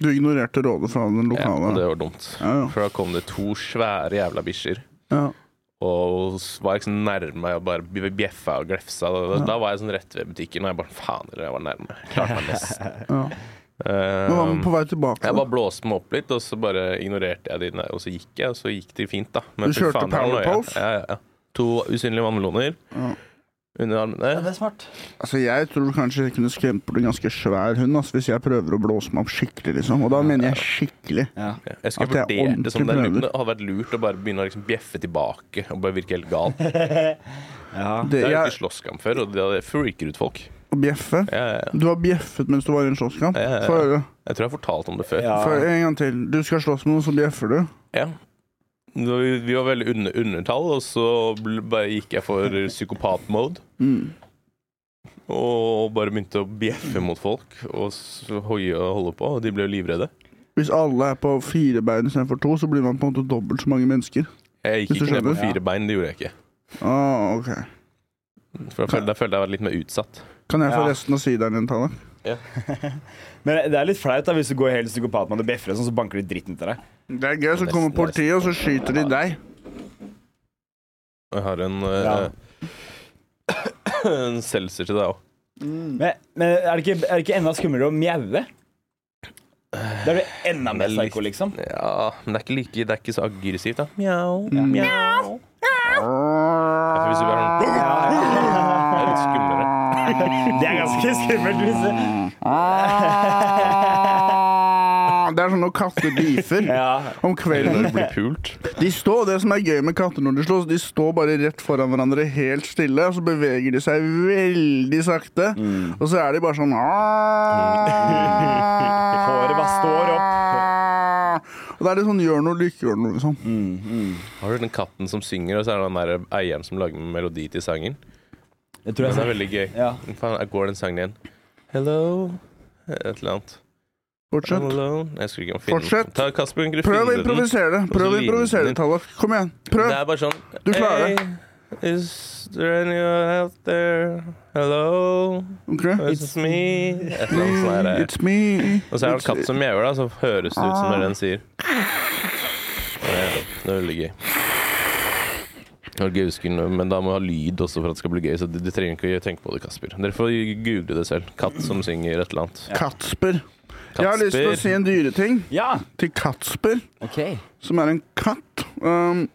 Du ignorerte rådet fra den
Ja, og
lokale.
det var dumt.
Ja, ja.
For da kom det to svære jævla bikkjer.
Ja.
Og s- var liksom nærme og bare bj- bjeffa og glefsa. Da, da- da var jeg sånn rett ved butikken, og jeg bare faen, dere, jeg var nærme. Klarte meg nesten.
Ja. Nå var vi
Um,
på vei tilbake.
jeg
da.
bare blåste meg opp litt, og så bare ignorerte jeg de, der, og så gikk jeg, og så gikk de fint, da. Men
Du
fy
kjørte
faen, det var
power
nøye.
pose?
Ja, ja, ja. To usynlige vannmeloner
Ja.
under armene.
Det er smart.
Altså, Jeg tror kanskje jeg kunne skremt bort en ganske svær hund altså, hvis jeg prøver å blåse meg opp skikkelig. liksom. Og da mener jeg skikkelig.
Ja.
Jeg skulle
At det er
vurdert det som det er
ordentlig
lurt. Det hadde vært lurt å bare begynne å liksom bjeffe tilbake og bare virke helt gal.
Ja.
Det,
Jeg har jo
jeg,
ikke slåsskamp før, og det freaker ut folk.
å bjeffe.
Jeg, jeg,
Du har bjeffet mens du var i en slåsskamp.
Ja, ja, ja.
Få høre.
jeg tror jeg har fortalt om det før.
Ja.
Få høre en gang til. Du skal slåss med noen, så bjeffer du.
Ja. Det var- Vi var veldig under, undertall, og så bl- bare gikk jeg for psykopat-mode.
Mm.
Og bare begynte å bjeffe mot folk og s- hoie og holde på. Og de ble jo livredde.
Hvis alle er på fire bein istedenfor to, så blir man på en måte dobbelt så mange mennesker.
Jeg gikk
Hvis du
ikke ned på
skjønner.
fire bein, det gjorde jeg ikke.
Ah, ok.
For da følte, da følte jeg var litt mer utsatt.
Kan jeg få
Ja.
resten av sideren din, Tallak?
Men det er litt flaut da hvis du går helt psykopat med det bjeffer og sånn, så banker de dritten ut av deg.
Det er gøy, så
Nesten,
kommer politiet, og så skyter de deg.
Og Jeg har en, uh, en seltzer til deg òg.
Men, men er, det ikke, er det ikke enda skumlere å mjaue? Da er du enda mer
Det er litt-
psyko, liksom.
Ja, men det er ikke like Det er ikke så aggressivt, da. Mjau, mjau. Ja, for Hvis du bare er sånn Det er litt skumlere.
Det er ganske skummelt. Hvis det.
Ah, Det er sånn når katter beefer
Ja.
om
Eller
kvelden.
når du blir pult.
De står, Det som er gøy med katter når de slåss, de står bare rett foran hverandre helt stille, og så beveger de seg veldig sakte,
Mm.
og så er de bare sånn Håret
Håret bare står
Og da er det sånn gjør noe, lykke gjør noe, liksom.
Mm,
Har du den katten som synger, og så er det den der eh, eieren som lager melodi til sangen?
Jeg tror
Den er
jeg ser.
veldig gøy.
Ja.
Hva faen, jeg går den sangen igjen? Hello Et eller annet. I'm
Fortsett.
alone. Jeg skulle ikke om filmen.
Fortsett.
Ta Kasper Ingrid
Prøv å
finne den.
improvisere det. Prøv å
Og så
improvisere
limer
det,
den.
Tallaf. Kom igjen. Prøv.
Det er bare sånn
Du klarer det.
Hey, is there anyone out there? Hello,
Ok?
it's me. Et eller annet sånt der.
It's Ah. me.
Og så er det en katt som mjauer, da, så høres det ut som når den sier Det er det er veldig gøy. Det var gøy, skulle- Men da må vi ha lyd også for at det skal bli gøy, så du, du trenger ikke å tenke på det, Kasper. Dere får google det selv. Katt som synger et eller annet.
Katsper. Jeg har lyst til å
Katsper.
si en dyreting
Ja.
til Katsper.
OK.
som er en katt. Um,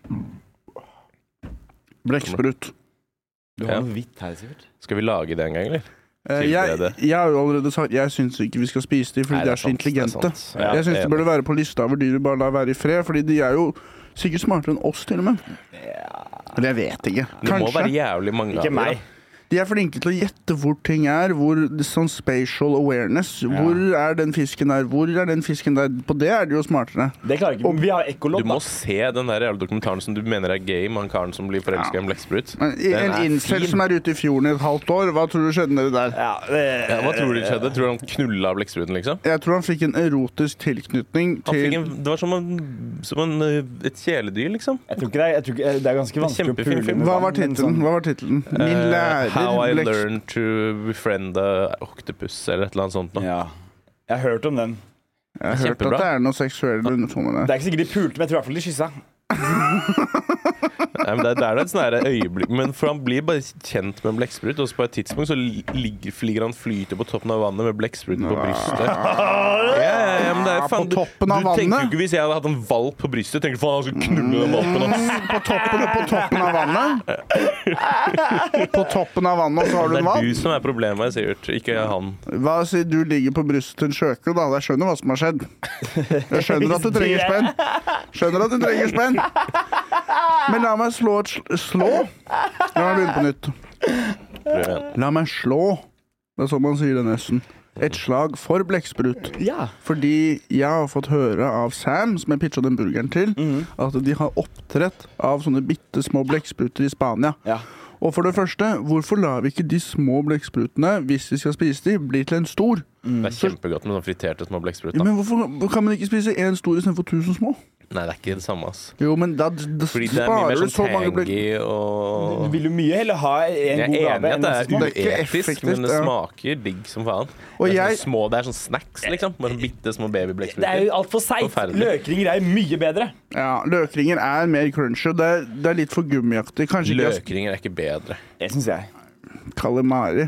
Blekksprut.
Du
Ja.
har noe hvitt her, sikkert.
Skal vi lage det en gang, eller?
Eh, Jeg,
Tilberede.
jeg har jo allerede sagt jeg syns ikke vi skal spise de, fordi
Nei,
de
det
er
er
så
sant, det er
intelligente.
sant. Ja,
jeg syns
jeg er
de burde være på lista over dyr vi bare lar være i fred, fordi de er jo sikkert smartere enn oss, til og med. Eller jeg vet ikke.
Det må være
Kanskje.
jævlig mange
Ikke meg.
De er flinke til å gjette hvor ting er. Hvor, sånn spatial awareness. Hvor er den fisken der? Hvor er den fisken der? På det er de jo smartere.
Det klarer ikke. Vi har
Du
ekkolodd.
må
da.
se den der jævla dokumentaren som du mener er gay med han karen som blir forelska i en blekksprut.
Men i-
Den
en
er
incel
fin.
som er ute i fjorden i et halvt år, hva tror du skjedde nedi der?
Ja, det-
Ja, hva tror du skjedde? Tror du han knulla blekkspruten, liksom?
Jeg tror han fikk en erotisk tilknytning
Han fikk
til
en, det var som, en, som en, eh, et kjæledyr, liksom.
Jeg tror ikke det er, jeg tror ikke, det er ganske vanskelig å
kjempefin
pule
film.
med
Hva var
vann, men
tittelen?
sånn-
Hva var tittelen? Min
Eh,
lærer
How I
Bleks-
learned to befriend a octopus, eller et eller annet sånt. nå.
Ja. Jeg har hørt om den.
Jeg har hørt at
Kjempebra.
det er noe seksuelle undertoner
Det
der.
er ikke sikkert de pulte, men jeg tror i hvert fall de kyssa.
Nei, men det, er- det er da et sånn her øyeblikk Men for han blir bare kjent med en blekksprut, og så på et tidspunkt så li- ligger, ligger han flyter på toppen av vannet med blekkspruten på brystet. Ja, ja, ja, men det er,
Ja,
faen,
på toppen av
du, du tenker
vannet.
jo
Mm.
ikke hvis jeg hadde hatt en valp på brystet, tenker du faen han skulle knulle den valpen. ass.
På toppen, på toppen av vannet? På toppen av vannet, og så har du
Det
en
er
vann?
du som er problemet, her, Sivert, ikke han.
Hva sier du ligger på brystet til en sjøku, da? Jeg skjønner hva som har skjedd. Jeg skjønner at du trenger spenn. Skjønner at du trenger spenn. Men la meg slå et sl Slå? La meg begynne på nytt.
Prøv igjen.
La meg slå. Det er sånn man sier det nesten. Et slag for blekksprut.
Ja.
Fordi jeg har fått høre av Sam, som jeg pitcha den burgeren til, at de har oppdrett av sånne bitte små blekkspruter i Spania.
Ja.
Og for det første, hvorfor lar vi ikke de små blekksprutene, hvis vi skal spise de, bli til en stor?
Det er kjempegodt med sånn friterte små blekkspruter.
Ja, men hvorfor kan man ikke spise én stor istedenfor tusen små?
Nei, det er ikke det samme, ass.
Jo, men da, da
Fordi det er mye
sparer
mer
du så
sånn
mange blekk...
tangy
Du
og
vil jo mye heller ha en
jeg er
god
enig i at
gave enn
det
masse
er
små.
Det er ikke
uetisk,
effektivt,
men det
ja.
smaker digg som faen.
Og
det, er
jeg-
sånne små, det er sånn snacks, liksom. Bare bitte små
Det er
babyblekkspruter.
jo altfor seigt.
Forferdelig.
Løkringer er jo mye bedre.
Ja, løkringer er mer crunchy. og Det er, det er litt for gummiaktig. Kanskje ikke jeg
Løkringer er ikke bedre.
Det syns jeg.
Kalimari.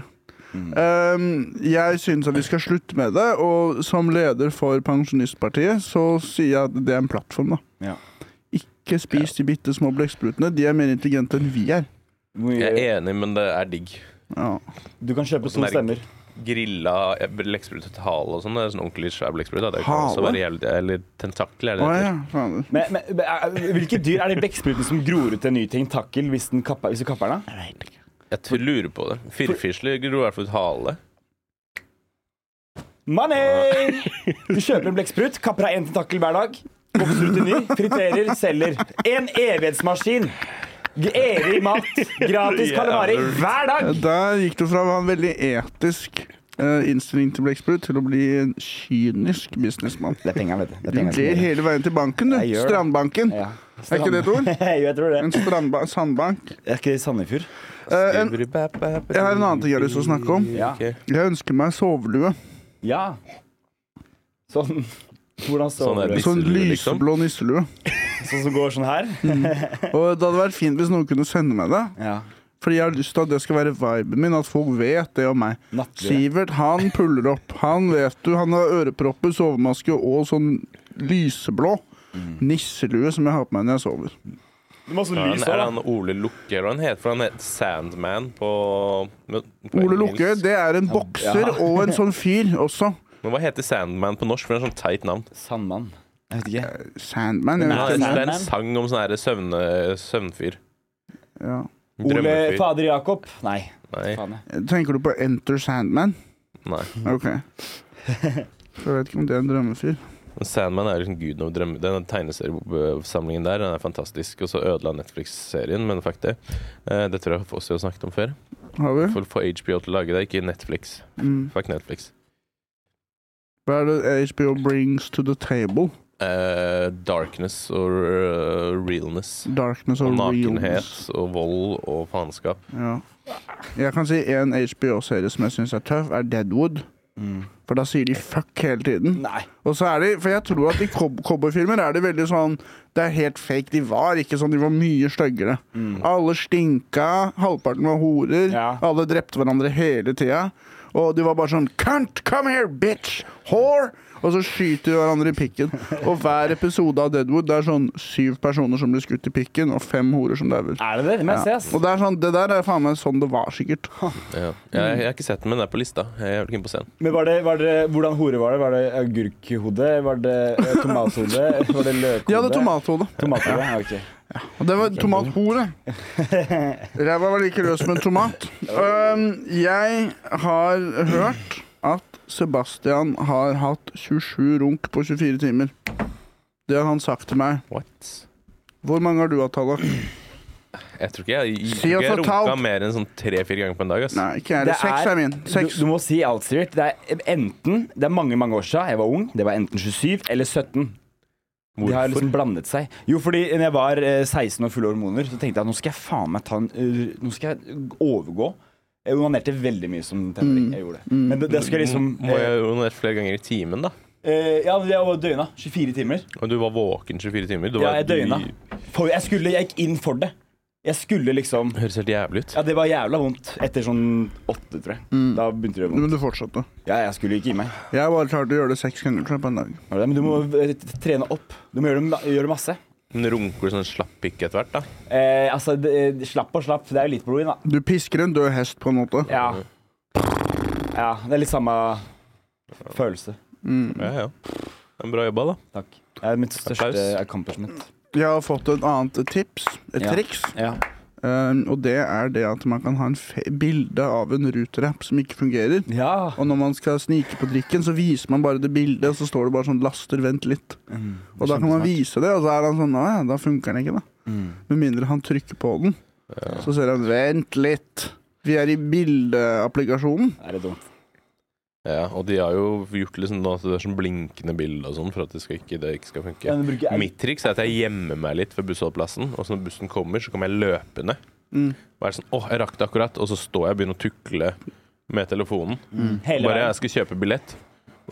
Mm.
Um, jeg syns at vi skal slutte med det, og som leder for Pensjonistpartiet så sier jeg at det er en plattform, da.
Ja.
Ikke spis de bitte små blekksprutene. De er mer intelligente enn vi er.
Hvor mye-
Jeg er enig, men det er digg.
Ja.
Du kan kjøpe to
merke.
stemmer.
Grilla eh, blekksprut til hale og sånn. Det er sånn ordentlig svær blekksprut. da. Det kan
Hale?
også være jævlig Eller tentakler, er
Å
det det
ja,
heter.
fader.
Men, men, men, er- hvilke dyr er det blekkspruten som gror ut en ny ting? Takkel hvis, den kapper, hvis du kapper den? av?
Jeg tror- lurer på det. Firfisler gror i hvert fall ut hale.
Money! Du kjøper en blekksprut, kapper av én tentakkel hver dag. Vokser ut en ny, friterer, selger. En evighetsmaskin. Evig mat. Gratis kalamari hver dag.
Der gikk du fra å ha en veldig etisk eh, innstilling til blekksprut til å bli en kynisk businessmann.
Det er penger, vet du. Det
Du ler hele veien til banken, du.
Jeg gjør det.
Strandbanken.
Ja.
Er ikke det et ord?
Jo, jeg tror det.
En strandba sandbank.
Er ikke det i Sandefjord?
Eh, en, jeg har en annen ting jeg har lyst til å snakke om.
Ja.
Ok.
Jeg ønsker meg sovelue.
ja. Sånn Hvordan
Sånn er
sover
det.
du?
Sånn
Nisselue, liksom?
lyseblå nisselue.
Sånn som går sånn her?
Og det hadde vært fint hvis noen kunne sende meg det.
Ja.
Fordi jeg har lyst til at det skal være viben min, at folk vet det om meg.
Nattlue.
Sivert, han puller opp. Han vet du, han har ørepropper, sovemaske og sånn lyseblå
Mm.
nisselue som jeg har på meg når jeg sover.
Du må også
Er han,
lys
er
òg.
han Ole Lukke, eller hva han heter? For han heter Sandman på, men- på
Ole
engelsk.
Lukke, det er en bokser og en sånn fyr også.
Men hva heter Sandman på norsk? For det er sånn teit navn.
Sandmann. Jeg vet
Eh,
ikke.
Sandman, jeg
Det
vet
er,
ikke.
det er
Sandman?
en sang om sånn her søvne, søvnfyr.
Ja.
Ole
Drømmefyr.
Fader Jakob. Nei.
Nei.
Faen, jeg.
Tenker du på Enter Sandman?
Nei.
OK. Så jeg vet ikke om det er en drømmefyr.
Men Sandman er liksom guden over drømmer. Den tegneseriesamlingen der den er fantastisk. Og så ødela Netflix-serien, men fuck det. Eh, Det tror jeg også vi har snakket om før.
Har vi?
For å få HBO til å lage det, ikke Netflix.
Mm.
Fuck Netflix.
Hva er det HBO brings to the table?
Eh, darkness og eh, realness.
Darkness
Og
og
nakenhet
realness.
og vold og faenskap.
Ja. Jeg kan si en HBO-serie som jeg syns er tøff, er Deadwood.
Mm.
For da sier de fuck hele tiden.
Nei.
Og så er de, For jeg tror at i cob- cowboyfilmer er det veldig sånn Det er helt fake. De var ikke sånn, de var mye styggere. Alle stinka, halvparten var horer.
Mm. Ja.
Alle drepte hverandre hele tida. Og de var bare sånn Cunt, come here, bitch! Whore! og så skyter de hverandre i pikken. Og hver episode av Deadwood det er sånn syv personer som blir skutt i pikken, og fem horer som dauer.
Er det det? Det må jeg se,
Ja.
ass.
Og det er sånn, det der er faen meg sånn det var, sikkert.
Ja. Jeg, jeg har ikke sett den, men den er på lista. Jeg er jævlig keen på å se den.
Men var det, var det, hvordan hore var det? Var det agurkhode? Var det eh, tomathode? Var det løkhode?
Ja, det er tomathode.
Tomathode, ja, ok.
Og det var tomathore. Ræva var like løs som en tomat. Øhm, jeg har hørt at Sebastian har hatt 27 runk på 24 timer. Det har han sagt til meg.
What?
Hvor mange har du hatt, Tallak?
Jeg tror ikke jeg, jeg,
Si oss
jeg runka
totalt.
mer enn sånn tre-fire ganger på en dag. Ass.
Nei, ikke jeg. Det er Seks er min. Seks.
Du, du må si alt, Sivert. Det er enten Det er mange, mange år siden jeg var ung. Det var enten 27 eller 17. De har
Hvorfor?
liksom blandet seg. Jo, fordi når jeg var eh, 16 og fulle hormoner, så tenkte jeg at nå skal jeg faen meg ta en eh, Nå skal jeg overgå. Jeg onanerte veldig mye som
Mm.
tenåring. Jeg gjorde det. Men det, det skulle jeg liksom
Må jeg onanere flere ganger i timen, da?
eh, Ja, men jeg var døgna. 24 timer.
Og du var våken 24 timer? Du
Ja,
var,
jeg døgna.
du-
For jeg skulle Jeg gikk inn for det. Jeg skulle liksom
Høres helt jævlig ut.
Ja, det var jævla vondt etter sånn åtte, tror jeg.
Mm.
Da begynte det å gjøre vondt.
Men du fortsatte.
Ja, jeg skulle ikke gi meg.
Jeg bare klarte å gjøre det seks ganger tror jeg, på en dag.
Var det det? Men du må eh, t- trene opp. Du må gjøre, ma- gjøre masse.
Men runker du sånn slapp pikk etter hvert, da?
Eh, altså, det- eh, slapp og slapp. Det er jo litt blod i, da.
Du pisker en død hest, på en måte.
Ja. ja. Det er litt samme følelse. Mm.
Ja, ja. Det er Bra jobba, da.
Takk. Det er mitt største
Applaus.
accomplishment.
Jeg har fått et annet tips. Et
Ja.
triks.
Ja.
Øhm, og det er det at man kan ha en fe bilde av en ruterapp som ikke fungerer.
ja.
Og når man skal snike på drikken, så viser man bare det bildet, og så står det bare sånn 'laster, vent litt'. Og da kan man vise det, og så er han sånn 'Å ja, da funker den ikke', da.
Mm.
Med mindre han trykker på den. Så ser han 'vent litt'. Vi er i bildeapplikasjonen.
Er det dumt?
Ja, og de har jo gjort liksom da, at det er sånn blinkende bilde og sånn for at det, skal ikke, det ikke skal funke.
Ja, men bruker jeg-
Mitt triks er at jeg gjemmer meg litt ved bussholdeplassen, og så når bussen kommer, så kommer jeg løpende.
Mm.
Og er sånn, åh, jeg rakk det akkurat, og så står jeg og begynner å tukle med telefonen.
Hele
Bare
veien.
jeg skal kjøpe billett,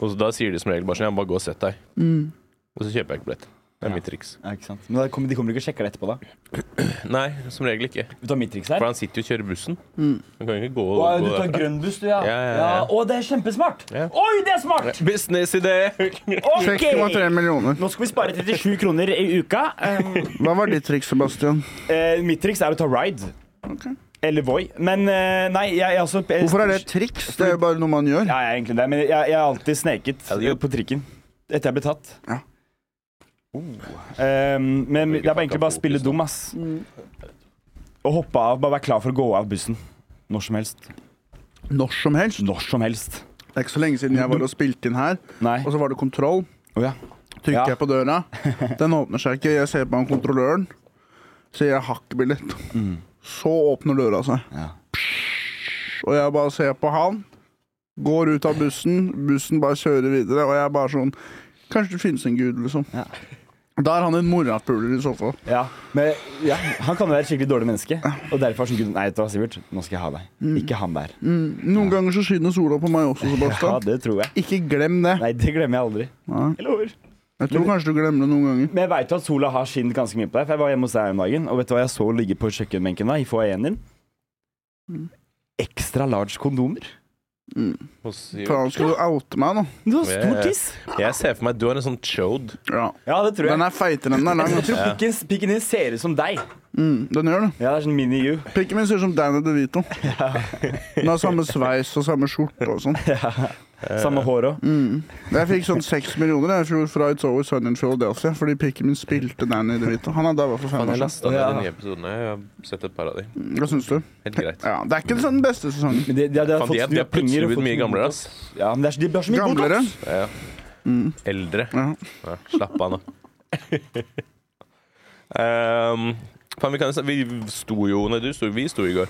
og så, da sier de som regel bare sånn, ja, bare gå og sett deg.
Mm.
Og så kjøper jeg ikke billett. Det er
Ja.
mitt triks.
Ja, ikke sant? Men da kommer, de kommer ikke og sjekker det etterpå, da?
Nei, som regel ikke.
Du tar mitt triks her?
For han sitter jo og kjører bussen.
Mm.
Han kan jo ikke gå,
Å,
gå
du tar
derfra.
grønn buss, du, ja.
Ja, ja, ja.
Å, det er kjempesmart!
Ja.
Oi, det er smart!
Businessidé!
6,3
OK!
millioner.
Nå skal vi spare 37 kroner i uka. Um,
Hva var ditt triks, Sebastian?
Eh, mitt triks er å ta ride. Eller Voi. Men eh, nei, jeg, jeg er også
Hvorfor er det et triks? Det er jo bare noe man gjør.
Ja, jeg er egentlig det, men jeg, jeg har alltid sneket
Ja, det gjør-
eh, på trikken. Etter jeg ble tatt.
Ja.
Oh. Eh, men det er bare egentlig bare å spille dum, ass. Og hoppe av. Bare være klar for å gå av bussen. Når som helst.
Når som helst.
Når som helst.
Det er ikke så lenge siden jeg var og spilte inn her,
Nei.
og så var det kontroll.
Å ja.
Trykker
Ja.
jeg på døra. Den åpner seg ikke. Jeg ser på han kontrolløren. Sier jeg har ikke billett. Så åpner døra seg.
Mm. Ja.
Og jeg bare ser på han. Går ut av bussen. Bussen bare kjører videre. Og jeg er bare sånn Kanskje det finnes en gud, liksom.
Ja.
Da er han en morapuler i så fall.
ja. Men ja, han kan jo være et skikkelig dårlig menneske. Og derfor er sånn Gud, nei, vet du hva, Sivert, nå skal jeg ha deg. Ikke han der.
Mm. Noen ganger så skinner sola på meg også,
Ja,
Sebastian.
det tror jeg.
Ikke glem det.
Nei, det glemmer jeg aldri.
Nei.
Jeg lover.
Jeg tror kanskje du glemmer det noen ganger.
Men jeg vet jo at sola har skint ganske mye på deg, for jeg var hjemme hos deg om dagen, og vet du hva jeg så ligge på kjøkkenbenken da, i foajeen din? Mm. Ekstra large kondomer.
Faen, skal du oute meg nå?
Du har stor
Ja.
tiss.
Jeg ser for meg at du har en sånn chode.
Ja.
Ja, det tror
Den
jeg.
er feitere enn den er lang.
Jeg
altså.
tror pikken, pikken din ser ut som deg.
Mm, den gjør det.
Ja, det er sånn mini-you.
Pikken min ser ut som Danny DeVito. Den har samme sveis og samme skjorte og sånn.
Eh.
Samme hår òg.
Jeg fikk sånn seks millioner jeg i fjor fra It's Always Sunny in Philadelphia fordi pikken min spilte Danny DeVito. Han er daua for fem
Faen, jeg
år
lasta ned
Ja.
de nye episodene. Jeg har sett et par av de.
siden. Hva syns du?
Helt greit.
Ja, det er ikke sånn den beste sesongen.
Men de, de, de har
Faen, de,
fått
er, de
snudd
er plutselig
penger og
blitt
fått
mye gamlere, altså. ass.
Ja, men det er, så- de har så mye
Gamlere.
botox.
Ja. Eldre.
Ja.
Ja, slapp av nå. um, faen, vi, kan, jo sn- vi sto jo Nei, du sto, vi sto i går.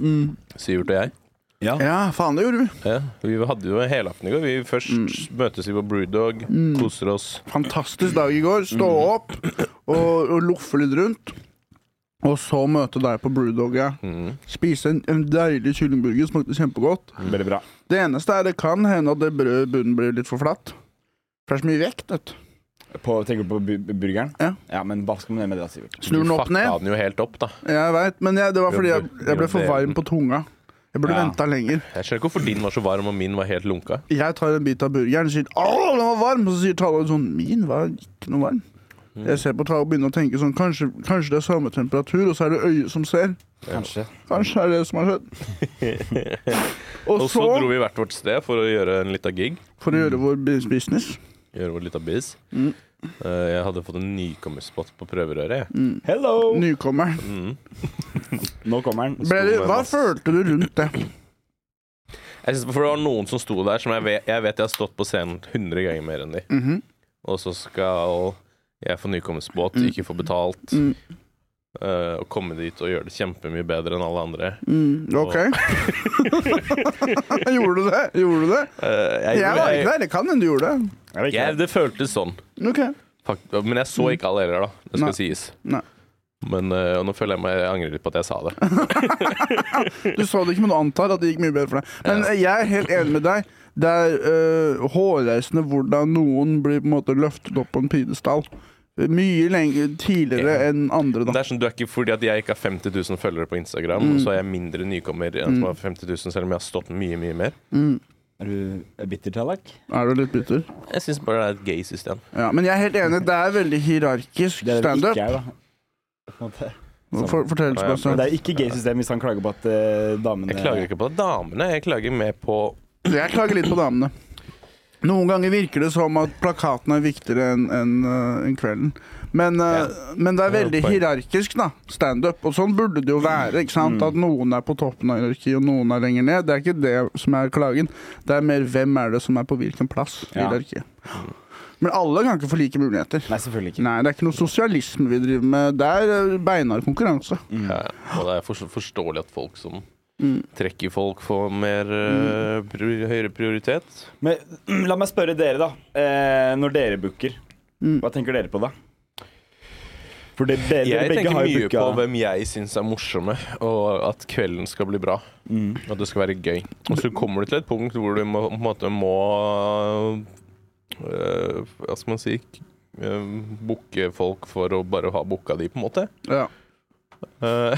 Mm.
Sivert og jeg.
ja, faen, det gjorde vi.
Ja, vi hadde jo en helaften i går. Vi først
Mm.
møtes vi på Brewdog, koser oss.
Fantastisk dag i går. Stå
Mm.
opp og, og loffe litt rundt. Og så møte deg på Brewdog. Ja.
Mm.
Spise en, en deilig kyllingburger. Smakte kjempegodt.
Veldig bra.
Det eneste er det kan hende at det brødet i bunnen blir litt for flatt. For det er så mye vekt, vet du.
På, tenker du på bu bu- burgeren?
Ja.
men hva skal man gjøre med det, da, Sivert?
Snur den opp
Du
ned.
fucka den jo helt opp, da.
Jeg veit, men jeg, det var fordi jeg, jeg ble for varm på tunga. Jeg burde
Ja.
venta lenger.
Jeg skjønner ikke hvorfor din var så varm og min var helt lunka.
Jeg tar en bit av burgeren og sier 'Å, den var varm', og så sier Tallinn sånn 'Min var ikke noe varm'.
Mm.
Jeg ser på Tallinn og begynner å tenke sånn kanskje, kanskje det er samme temperatur, og så er det øyet som ser.
Kanskje.
Kanskje det er det som har skjedd. og
Og så dro
så,
vi hvert vårt sted for å gjøre en lita gig.
for å gjøre vår bus- business Mm,
Gjøre vår lita biz. Eh, Jeg hadde fått en nykommerspott på prøverøret. jeg. Mm.
Hello!
mm. Nykommeren.
Nå kommer den.
Ble du, hva følte du rundt det?
Jeg synes, for det var noen som sto der som jeg vet jeg, vet jeg har stått på scenen 100 ganger mer enn de.
Mhm.
Og så skal jeg få nykommerspott, ikke få betalt.
Mm.
eh, og komme dit og gjøre det kjempemye bedre enn alle andre.
Mm, OK. gjorde du det? Gjorde du det?
Eh, jeg,
Jeg var ikke der. Det kan hende du gjorde det.
Jeg vet ikke.
Jeg, det føltes sånn.
OK.
Fakt, men jeg så ikke alle heller, da. Det skal
Nei.
sies.
Nei.
Men eh, og nå føler jeg meg Jeg angrer litt på at jeg sa det.
Du så det ikke, men du antar at det gikk mye bedre for deg. Men eh, jeg er helt enig med deg. Det er øh, hårreisende hvordan noen blir på en måte løftet opp på en pidestall. Mye lenger tidligere
Ja.
enn andre,
Men det
da.
er sånn, du er ikke Fordi at jeg ikke har 50 000 følgere på Instagram, og så er jeg mindre nykommer enn som har 50 000, selv om jeg har stått mye, mye mer.
Er du bitter, Tallak?
Er du litt bitter?
Jeg syns bare det er et gay system.
Ja, men jeg er helt enig. Det er veldig hierarkisk
Det er det
standup.
ikke jeg, da. På en måte.
For, fortell,
Ja, ja.
Men
Sebastian.
det er ikke gay-system hvis han klager på at eh, damene
Jeg klager ikke på damene, jeg klager mer på
Jeg klager litt på damene. Noen ganger virker det som at plakaten er viktigere enn enn, øh, enn kvelden. Men, øh, men det er
Ja,
veldig
poeng.
hierarkisk, da. Standup. Og sånn burde det jo være. ikke sant? At noen er på toppen av hierarkiet, og noen er lenger ned. Det er ikke det som er klagen. Det er mer hvem er det som er på hvilken plass i
Ja.
hierarkiet. Men alle kan ikke få like muligheter.
Nei, selvfølgelig ikke.
Nei, det er ikke noe sosialisme vi driver med. Det er øh, beinhard konkurranse.
ja, ja. Og det er for, forståelig at folk som trekker folk, får mer eh, prior- høyere prioritet.
Men la meg spørre dere, da. Eh, når dere booker, hva tenker dere på da? For det, dere,
Jeg
dere begge
tenker
har jo
mye på
booka
hvem jeg syns er morsomme, og at kvelden skal bli bra.
Mm.
At det skal være gøy. Og så kommer du til et punkt hvor du må, på en måte må øh, Hva skal man si øh, Booke folk for å bare ha booka de, på en måte.
Ja.
Eh,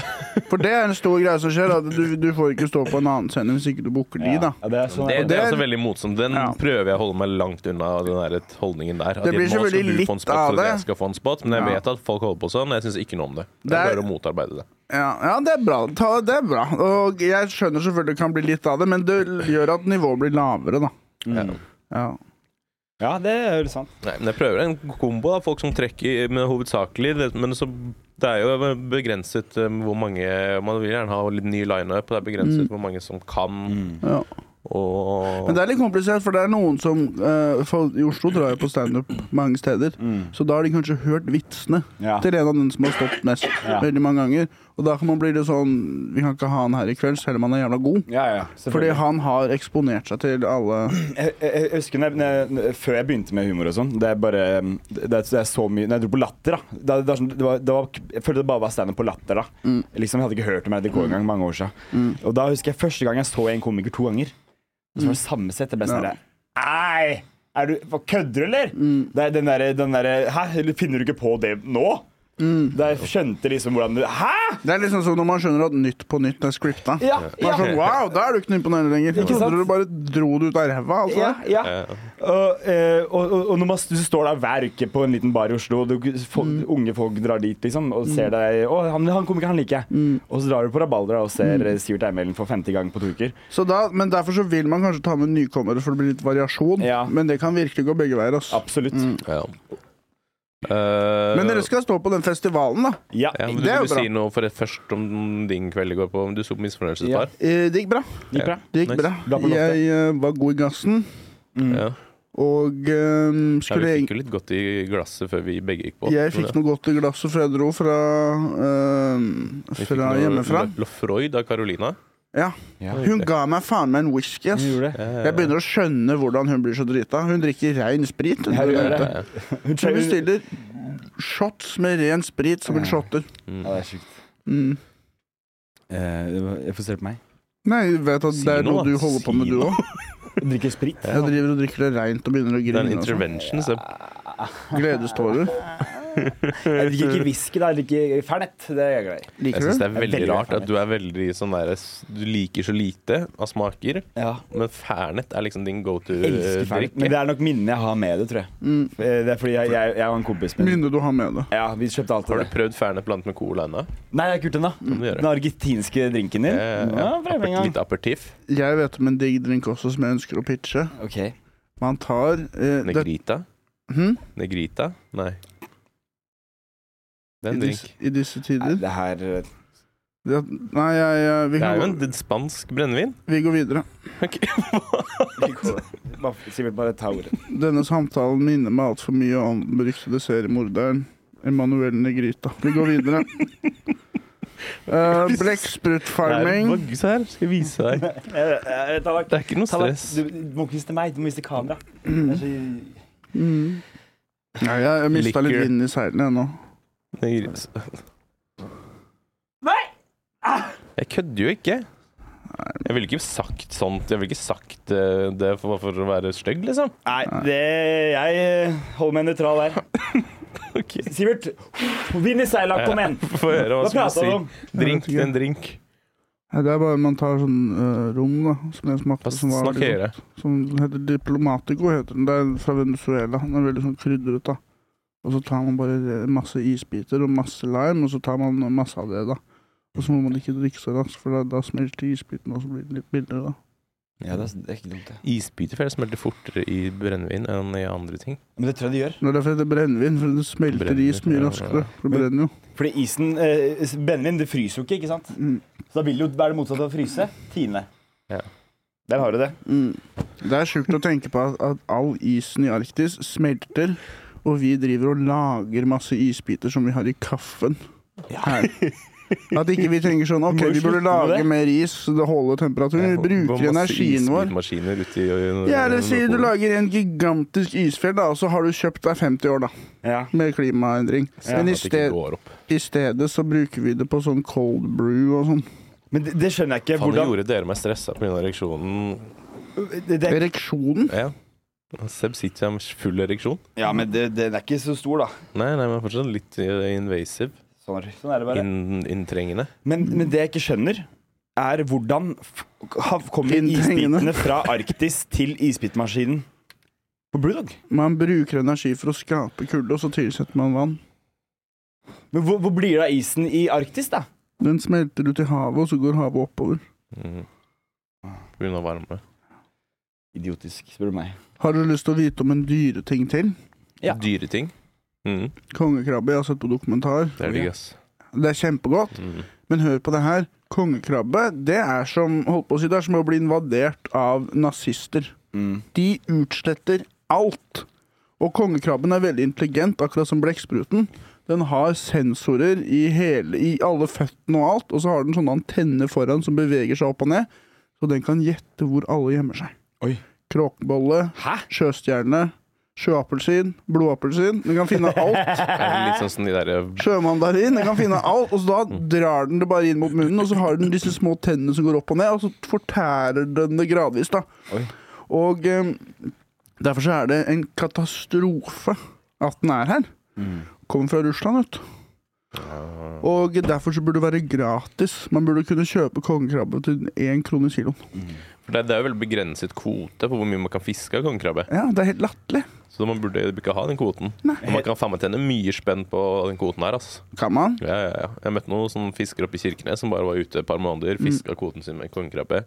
For det er en stor greie som skjer. At du, du får ikke stå på en annen scene hvis ikke du booker de, da.
Ja, det er sånn,
det, det
og det,
er også veldig motsomt. Den
Ja.
prøver jeg å holde meg langt unna, den der holdningen der. At
Det blir
jeg- nå skal
selvfølgelig
du få en
litt
spot
av
for at
det.
Jeg skal få en spot, men jeg
Ja.
vet at folk holder på sånn. og Jeg syns ikke noe om det. Jeg
Det er-
prøver å motarbeide det.
Ja, ja, det er bra. Ta, det er bra. Og jeg skjønner selvfølgelig det kan bli litt av det, men det gjør at nivået blir lavere, da.
Ja.
Ja.
ja, det er jo sant.
Nei, men jeg prøver en kombo av folk som trekker men hovedsakelig. Det, men så, det er jo begrenset um, hvor mange Man vil gjerne ha litt ny lineup, og det er begrenset hvor mange som kan.
Ja.
Og
Mm. Men det er litt komplisert, for det er noen som eh, folk I Oslo drar jo på standup mange steder, så da har de kanskje hørt
Mm.
vitsene
Ja.
til en av den som har stått mest
Ja.
veldig mange ganger. Og da kan man bli litt sånn Vi kan ikke ha han her i kveld, selv om han er jævla god.
Ja, ja,
Fordi
selvfølgelig.
han har eksponert seg til alle
jeg, jeg, jeg husker når jeg, når jeg, før jeg begynte med humor og sånn Det er bare det er, det er så mye Når jeg dro på Latter, da det, det, er sånn, det var, det var, Jeg følte det bare var standup på Latter. da Liksom Jeg hadde ikke hørt om RDK engang mange år siden. Og da husker jeg første gang jeg så en komiker to ganger. Og så var det samme sett. Jeg ble sånn
Ja.
der, Nei! Er du, hva, kødder du, eller? Det er den derre den der, Hæ? Eller Finner du ikke på det nå? Da jeg skjønte liksom hvordan du Hæ?!
Det er liksom som når man skjønner at Nytt på nytt er scripta.
Ja,
Bare
ja.
sånn, wow, da er du ikke imponerende lenger. Jeg
Ikke sant?
trodde du bare dro det ut av ræva. Altså.
Ja, ja.
Ja.
Og, eh, og, og- og når man s- du står der hver uke på en liten bar i Oslo, og du, folk, unge folk drar dit liksom, og ser deg Å, han, han komikeren han liker jeg. Og så drar du på Rabaldra og ser eh, Sivert Eimelen for femte gang på to uker.
Så da, men derfor så vil man kanskje ta med nykommere for det blir litt variasjon.
Ja.
Men det kan virkelig gå begge veier. ass.
Absolutt.
ja. Eh,
Men dere skal stå på den festivalen, da.
Ja.
ja, men
det
Du
er jo
ville
bra.
si noe for først om din kveld i går på om Du så på misfornøyelsespar.
Eh, Det gikk bra.
Gikk bra.
Det gikk
Nice.
bra.
Bra på loftet.
Jeg eh, var god i gassen
Ja.
Mm.
Ja.
og eh,
Vi
skulle
fikk jo litt godt i glasset før vi begge gikk på.
jeg, jeg fikk noe godt i glasset før jeg dro fra, eh,
Vi fikk
fra
noe
hjemmefra.
La- Lafroid av Carolina.
Ja.
Ja.
Hun ga meg faen meg en whisky, ass.
Hun gjorde det.
Jeg begynner å skjønne hvordan hun blir så drita. Hun drikker rein sprit. Hun,
Ja, hun gjør
hun,
det.
Ja, ja.
Hun
hun
hun-
bestiller shots med ren sprit som hun shotter.
Ja, det er sjukt.
Mm.
Eh, det var- jeg får se på meg.
Nei, jeg vet at
Si
det er
noe,
noe
da.
du holder på
Si
med, du
noe.
òg.
Jeg drikker sprit.
Jeg driver og drikker det reint og begynner å
Det er en
grine. og sånn.
intervention. Så.
Gledestårer.
Jeg drikker ikke whisky, da. Jeg drikker Fernet. Det er jeg glad i.
Jeg
Liker du
syns
det?
det er veldig
veldig
rart
fan
at du er veldig sånn der Du liker så lite av smaker,
Ja.
men Fernet er liksom din go
Elsker Fernet.
to-drikke.
Men det er nok minnene jeg har med det, tror jeg. Eh, Det er fordi jeg, jeg, jeg og en kompis min
Minnet du har med deg.
Ja, vi kjøpte
Har
alltid
du
det.
prøvd Fernet blandet med cola ennå?
Nei, jeg har ikke gjort den, da.
Kan du gjøre?
Den argentinske drinken din.
Eh,
Ja, prøv en gang.
Litt aperitiff.
Jeg vet om en digg drink også som jeg ønsker å pitche.
Ok.
Man tar eh, det,
Negrita?
hm?
Negrita? Nei. Det er
I,
en
disse,
drink.
I disse
Nei,
tider.
det her eh,
Det, nei, jeg, jeg, vi,
Det er jo
kan,
en
gå-
det er spansk brennevin.
vi går videre.
Ok.
Bare- Sivert, bare ta ordet.
Denne samtalen minner meg altfor mye om den beryktede seriemorderen Emanuel Negrita. Vi går videre. Uh, Blekksprutfarming.
Nei, Se her, skal jeg vise deg.
Eh,
Det er ikke noe stress.
Du, du må ikke vise til meg, du må vise til kamera. Det er så-
Mm. Nei, jeg, jeg mista litt
Liquor.
vind i seilene jeg nå.
Nei!
Ah!
Jeg kødder jo ikke. Jeg ville ikke sagt sånt. Jeg ville ikke sagt eh, det for, for å være stygg, liksom.
Nei, det, jeg eh, holder meg nøytral der.
Ok.
Sivert, vinn i seila, kom igjen!
Få høre hva
Hva
du skulle
prata du om?
si. Drink det er en drink.
Nei, Det er bare man tar sånn eh, rom, da, som jeg smakte.
Hva
Som, var liksom
snakker
veldig
dere?
godt. som heter Diplomatico, heter den. Det er fra Venezuela. Den er veldig sånn krydret, da. Og så tar man bare masse isbiter og masse lime, og så tar man masse av det, da. Og så må man ikke drikke så raskt, for da, da smelter isbitene, og så blir den litt billigere, da.
Ja, det er, det er ikke dumt, det.
Isbiter for det smelter fortere i brennevin enn i andre ting.
Men det tror jeg det gjør.
Det er derfor det heter brennevin, for det smelter
Brennevin,
is mye
ja,
raskere.
ja.
Det brenner jo.
Fordi isen eh, Brennevin, det fryser jo ikke, ikke sant?
Mm.
Så da vil det jo være det motsatte av å fryse. Tine.
Ja.
Der har du det.
Mm. Det er sjukt å tenke på at, at all isen i Arktis smelter, og vi driver og lager masse isbiter som vi har i kaffen her. At ikke vi tenker sånn OK,
Må jo
vi burde
slutte med
lage
det."
mer is, så det holder temperaturen. Vi bruker energien vår.
Isbitmaskiner ute i, i,
Ja, eller si du lager en gigantisk isfjell, da, og så har du kjøpt deg 50 år, da,
Ja.
med klimaendring. Men i, sted,
Faen,
i stedet så bruker vi det på sånn cold brew og sånn.
Men det, det skjønner jeg ikke.
nå
Hvordan
gjorde dere meg stressa pga. ereksjonen.
det, det,
Ereksjonen?
Ja. Seb sitter her med full ereksjon.
Ja, men det, det, er ikke så stor, da.
Nei, nei, men fortsatt litt eh, invasive.
Sånn, er- sånn er det bare.
Mm.
Inn- inntrengende.
Men, men det jeg ikke skjønner, er hvordan f- ha- kommer
Inntrengende.
isbitene fra Arktis til isbitmaskinen på Brewdog?
Man bruker energi for å skape kulde, og så tilsetter man vann.
Men hvor, hvor blir det av isen i Arktis, da?
Den smelter ut i havet, og så går havet oppover.
Mm. På grunn av varme.
Idiotisk, spør du meg.
Har du lyst til å vite om en dyreting til?
Ja.
Dyre ting. Mm.
Kongekrabbe. Jeg har sett på dokumentar.
Det er digg, ass.
Det er kjempegodt,
Mm.
men hør på det her. Kongekrabbe, det er som holdt på å si, det er som å bli invadert av nazister.
Mm.
De utsletter alt. Og kongekrabben er veldig intelligent, akkurat som blekkspruten. Den har sensorer i, hele, i alle føttene og alt, og så har den sånne antenner foran som beveger seg opp og ned, så den kan gjette hvor alle gjemmer seg.
Oi.
Kråkebolle,
Hæ?
sjøstjerne, sjøappelsin, blodappelsin. Den kan finne alt.
Det er litt sånn som de derre
Sjømandarin. Den kan finne alt. Og så da drar den det bare inn mot munnen, og så har den disse små tennene som går opp og ned, og så fortærer den det gradvis, da.
Oi.
Og eh, derfor så er det en katastrofe at den er her.
Mm.
Kommer fra Russland, vet du. Og derfor så burde det være gratis. Man burde kunne kjøpe kongekrabbe til én krone kiloen.
For det, det er jo veldig begrenset kvote på hvor mye man kan fiske av kongekrabbe.
Ja, det er helt latterlig.
Så man burde ikke ha den kvoten.
Nei.
Men man kan faen meg tjene mye spenn på den kvoten her, ass.
Kan man?
Ja, ja, ja. Jeg møtte noen sånne fiskere oppe i Kirkenes som bare var ute et par måneder,
Mm.
fiska kvoten sin med kongekrabbe.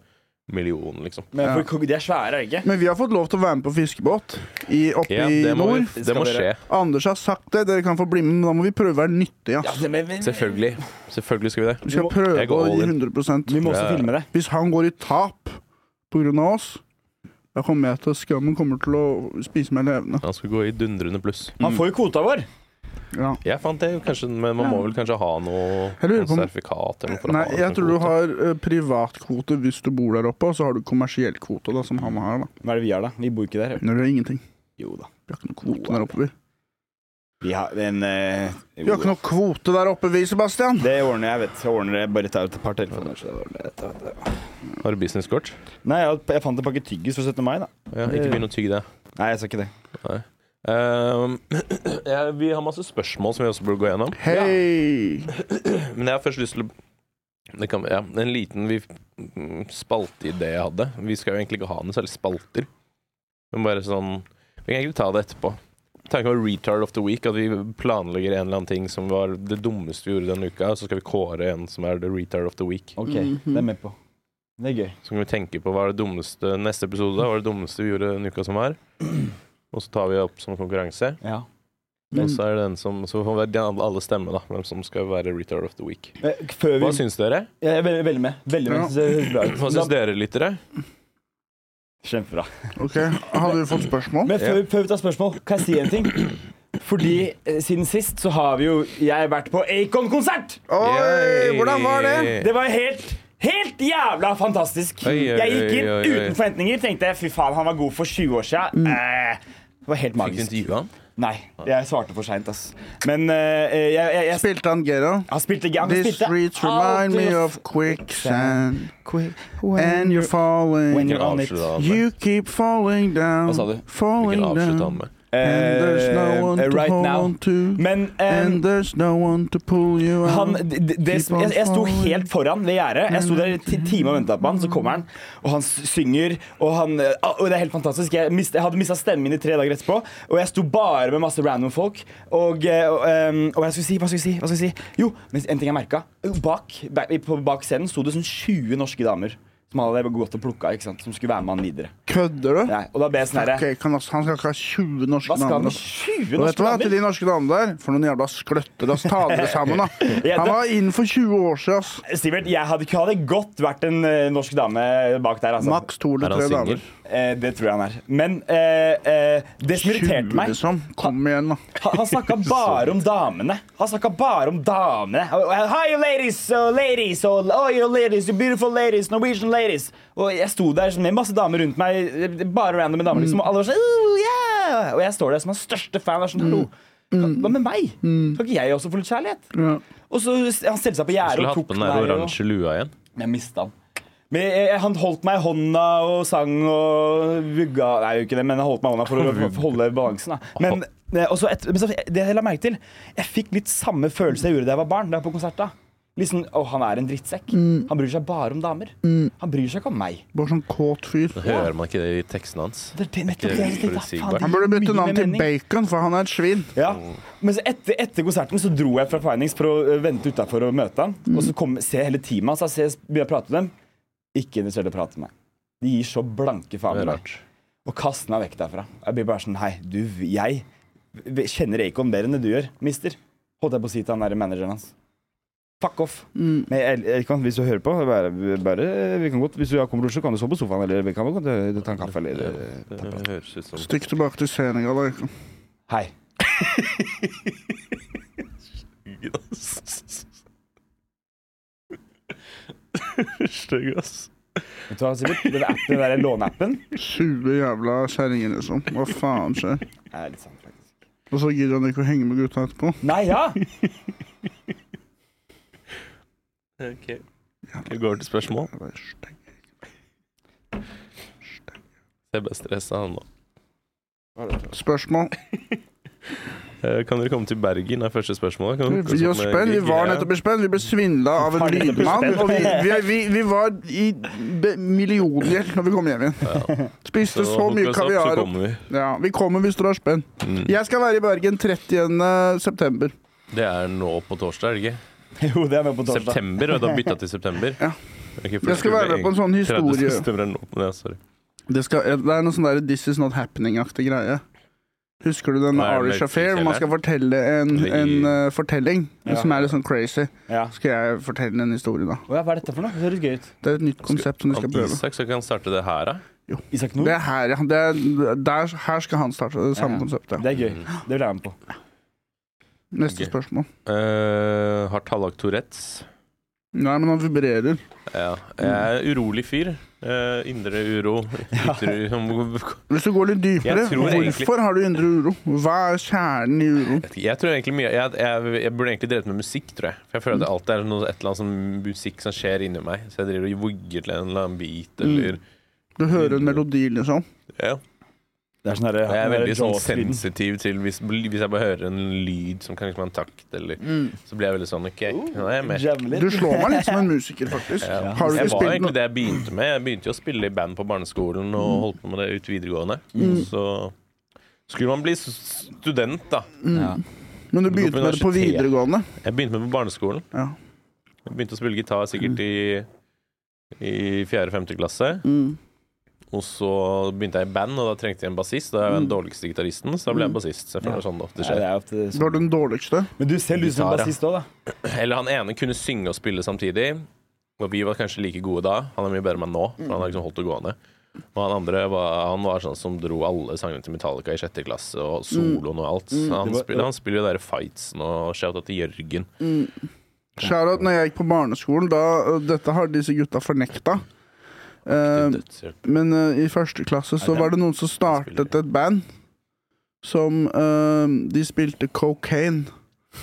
Million, liksom.
Men for, kong- De er svære, er de ikke?
Men vi har fått lov til å være med på fiskebåt i, oppe
Ja,
i
det må,
nord.
vi, det må
Skal
skje.
dere-
Anders har sagt det, dere kan få bli med, men da må vi prøve å være nyttige.
Ja,
ass.
det, men, men,
Selvfølgelig. Selvfølgelig skal vi det.
Vi skal
må-
prøve
Jeg går
å gi
all in.
100
Vi må også
Ja.
filme det.
Hvis han går i tap pga. oss, da kommer jeg til skammen kommer til å spise meg levende.
Han skal gå i dundrende pluss.
Mm.
Han får jo kvota vår.
Ja.
Jeg fant det jo kanskje, men man må vel kanskje ha noe,
Jeg lurer
noe
på om-
sertifikat eller noe for å
Nei,
ha det
jeg
som
tror du
kvote.
har eh, privatkvote hvis du bor der oppe, og så har du kommersiell kvote, da, som han har. da.
Hva er det vi har, da? Vi bor ikke der.
Når det er ingenting.
Jo da.
Vi har ikke noe kvote der oppe, vi.
Vi har en eh,
Vi har
jo.
ikke noe kvote der oppe, vi, Sebastian!
Det ordner jeg, vet du. Jeg ordner det. Bare tar ut et par telefoner. Så det ordner jeg. Ta- ta-
Har du businesskort?
Nei, jeg, jeg fant en pakke tyggis for 17. mai, da.
Ja, ikke begynn å tygge det.
Nei, jeg sa ikke det.
Ehm, ja, vi har masse spørsmål som vi også burde gå gjennom.
Hei!
Men jeg har først lyst til å det kan, ja, En liten vi, mm, spalteidé jeg hadde. Vi skal jo egentlig ikke ha noen særlig spalter. Men bare sånn Vi kan egentlig ta det etterpå. Tanken var retard of the week. At vi planlegger en eller annen ting som var det dummeste vi gjorde denne uka. Og så skal vi kåre en som er the retard of the week.
OK,
Mhm.
det er med på. Det er gøy.
Så kan vi tenke på hva er det dummeste neste episode da, hva er det dummeste vi gjorde denne uka som var. Og så tar vi det opp som konkurranse.
Ja.
Og så er det den som Så får vi alle stemme, da. Hvem som skal være retard of the week.
Eh, Før vi
Hva syns dere?
Jeg er veldig, veldig med. Veldig med.
Ja.
Så det høres bra ut.
Hva syns dere, lyttere?
Kjempebra.
Ok, Hadde vi fått spørsmål?
Men før, før vi tar spørsmål, kan jeg si en ting? Fordi eh, siden sist så har vi jo Jeg vært på Acon-konsert!
Oi, hvordan var det?
Det var helt Helt jævla fantastisk!
Oi, oi,
jeg gikk inn
oi, oi, oi.
uten forventninger. Tenkte jeg, fy faen, han var god for 20 år
Mm.
siden. Eh, det var
Fikk
helt
du
magisk.
intervjue han?
Nei, jeg svarte for seint, ass. Men eh, jeg, jeg, jeg,
Spilte han Ghetto?
han spilte han
These
spilte
streets
alt
remind me
i-
of quicksand
Quick,
And you're
When
falling
you're
Hvilken
on it.
avslutte han med?
You keep falling down
Hva sa du?
Falling
Hvilken avslutte han
down
med?
And there's no one
Eh,
to
right
hold
now.
on to
Men eh,
And there's no one to pull you out
han, d- d- det,
Keep on
jeg, jeg sto
falling.
helt foran ved gjerdet. Jeg sto der i ti time og venta på han, så kommer han, og han s- synger, og han eh, ah, og Det er helt fantastisk. Jeg, mist, jeg hadde mista stemmen min i tre dager etterpå, og jeg sto bare med masse random folk. Og, eh, og, ehm, og jeg skulle si, hva skulle jeg si? Hva skulle jeg si? Jo, men en ting jeg merka. Bak, bak, på- bak scenen sto det sånn 20 norske damer som hadde gått og plukka, ikke sant? som skulle være med han videre.
Kødder du?
Nei, og da ble jeg sånn herre
Ok, kan, altså- han skal ikke ha 20 norske
Hva skal han
navn.
med 20
Og vet
norske
du hva, til
damer?
de norske damene der, for noen jævla skløtter, ass. Ta dere sammen, da.
Ja,
Han
det-
var inn for 20 år siden, ass.
Sivert, jeg hadde, hadde godt vært en eh, norsk dame bak der. Altså.
Maks to eller
Er
tre
han
damer.
singel?
Eh, det tror jeg han er. Men eh, eh, det som
20,
irriterte meg
liksom. Kom igjen, da.
Han, han snakka bare om damene. Han snakka bare om damene. Og- og- Hi, you ladies, oh, ladies, oh, oh, you ladies, you beautiful ladies, Norwegian ladies. Og jeg sto der med masse damer rundt meg, bare randome damer, liksom, og alle var sånn oh, yeah! Og jeg står der som hans største fan. og er Sånn, Hallo, hva med meg? Skal ikke jeg også få litt kjærlighet? Og så Han stelte seg på gjerdet
Skulle
og
hatt
tok
på den
meg.
der
og-
oransje lua igjen.
men jeg mista han. Men jeg, jeg, han holdt meg i hånda og sang og vugga Nei, jeg gjorde ikke det, men han holdt meg i hånda for å for å holde balansen. Da. Men, eh, og så et, men så, det jeg la merke til, jeg fikk litt samme følelse jeg gjorde da jeg var barn. Da jeg var på konsert da Liksom, å, Han er en drittsekk.
Mm.
Han bryr seg bare om damer. Han bryr seg ikke om meg.
Bare sånn kåt fyr.
Hører man ikke det i teksten hans?
Det er det- nettopp det jeg tenkte, faen, det
forutsigbart.
gir
Han burde bytte
mye
navn
mer
til
mening.
Bacon, for han er et svin.
Ja,
Mm.
men så etter, etter konserten så dro jeg fra Findings for å eh, vente utenfor og møte han.
Mm.
Og så kom, ser jeg hele teamet hans, jeg ser- begynner å prate med dem. Ikke interessert i å prate med meg. De gir så blanke faen
Det er
i meg.
rart.
Og kaster meg vekk derfra. Jeg blir bare sånn, hei, du, jeg v- kjenner Acon bedre enn det du gjør, mister. Holdt jeg på å si til han der manageren hans. Fuck off.
Mm.
Men jeg- jeg kan- hvis du hører på, bare, bare vi kan godt, hvis du har kommet til Oslo, kan du sove på sofaen, eller vi kan godt eh, ta en kaffe, eller
Det høres ut som
Stikk tilbake til Senegal, da. Bacon.
Hei.
Stygg, ass.
Vet du hva, Sivert? Den appen, den der låneappen,
Sure jævla kjerringer, liksom. Hva faen skjer?
er litt sant, faktisk.
Og så gidder han ikke å henge med gutta etterpå.
Nei, ja!
Ok. Vi går til spørsmål.
Det er stygg.
Jeg ble stressa, han nå.
Spørsmål.
Eh, Kan dere komme til Bergen, er første spørsmål. Kan dere
Vi,
hooke
var
oss opp med
spenn. vi var
Greia?
nettopp i spenn. Vi ble svindla av en
Var nettopp i
lydmann.
spenn.
Og vi, vi, vi, vi var i be- milliongjeld når vi kom hjem igjen. Spiste så
hook
mye
oss opp, Så
kaviar.
kommer vi. Mm.
Ja, vi kommer hvis dere har spenn. Jeg skal være i Bergen 30. september.
Det er nå på torsdag, er det ikke?
Jo, det er med på torsdag.
September, og da bytta til september?
Ja.
Ok, for
Jeg skal være med på en sånn
30
historie.
september er nå, men ja, sorry.
Det, skal, det er noe sånn der This is not happening-aktig greie. Husker du den med
Nei,
Arish
men-
Affair? Hvor man skal fortelle en,
Det-
en eh, fortelling
Ja.
som er litt sånn crazy.
Ja.
Skal jeg fortelle en historie, da?
Å ja, hva er dette for noe? Det høres gøy ut.
Det er et nytt konsept som de skal
Han
prøve.
Isak skal ikke han starte det her, da?
Isak
Det
Nord?
er her, ja. Det er, der, her skal han starte det samme
Ja.
konseptet.
Det er gøy. Det vil jeg være med på.
Neste
Ok.
spørsmål.
Eh, har Tallak Tourettes.
Nei, men han vibrerer.
Ja. Jeg er urolig fyr. Eh, indre uro. Ytre uro.
Hvis du går litt dypere,
Jeg tror
hvorfor
egentlig-
har du indre uro? Hva er kjernen i uroen?
Jeg tror egentlig mye Jeg, jeg, jeg burde egentlig drevet med musikk, tror jeg. For jeg føler at
Mm.
det alltid er noe, et eller annet sånn musikk som skjer inni meg. Så jeg driver
Mm.
og vugger til en eller annen beat, eller
Du hører en melodi, liksom.
ja.
Det er sånn herre
Jeg er veldig sånn
Jaws-lyden.
sensitiv til hvis, hvis jeg bare hører en lyd som kan liksom ha en takt, eller
Mm.
Så blir jeg veldig sånn
Uh,
OK, nå er jeg med.
Jævlig.
Du slår meg litt som en musiker, faktisk. Har du
Jeg
ikke
var
spilt
egentlig
noe Mm.
det jeg begynte med. Jeg begynte jo å spille i band på barneskolen og holdt på med det ut videregående. Så skulle man bli s- student, da.
Ja.
Men du begynte med det på
Universitetet.
videregående.
Jeg begynte med på barneskolen.
Ja.
Jeg begynte å spille gitar sikkert i, i 4.-5. klasse.
Mm.
Og så begynte jeg i band, og da trengte jeg en bassist. Da er jeg den dårligste gitaristen, så da ble jeg bassist. Så jeg føler det er sånn det ofte
Ja,
skjer.
det er ofte
Det var
sånn.
den dårligste.
Men du ser ut som
Gitar,
en
ja.
bassist òg, da.
Eller han ene kunne synge og spille samtidig. Og vi var kanskje like gode da. Han er mye bedre enn meg nå, for han har liksom holdt det gående. Og han andre var, han var sånn som dro alle sangene til Metallica i sjette klasse, og soloen og alt. Han,
Det var-
spiller, han spiller jo de der fightsen og shouta til Jørgen.
Shout-out når jeg gikk på barneskolen. Da, eh, dette har disse gutta fornekta. Eh,
Dødshjelp.
men eh, i første klasse så
Nei,
var det noen som startet et band som eh, De spilte cocaine.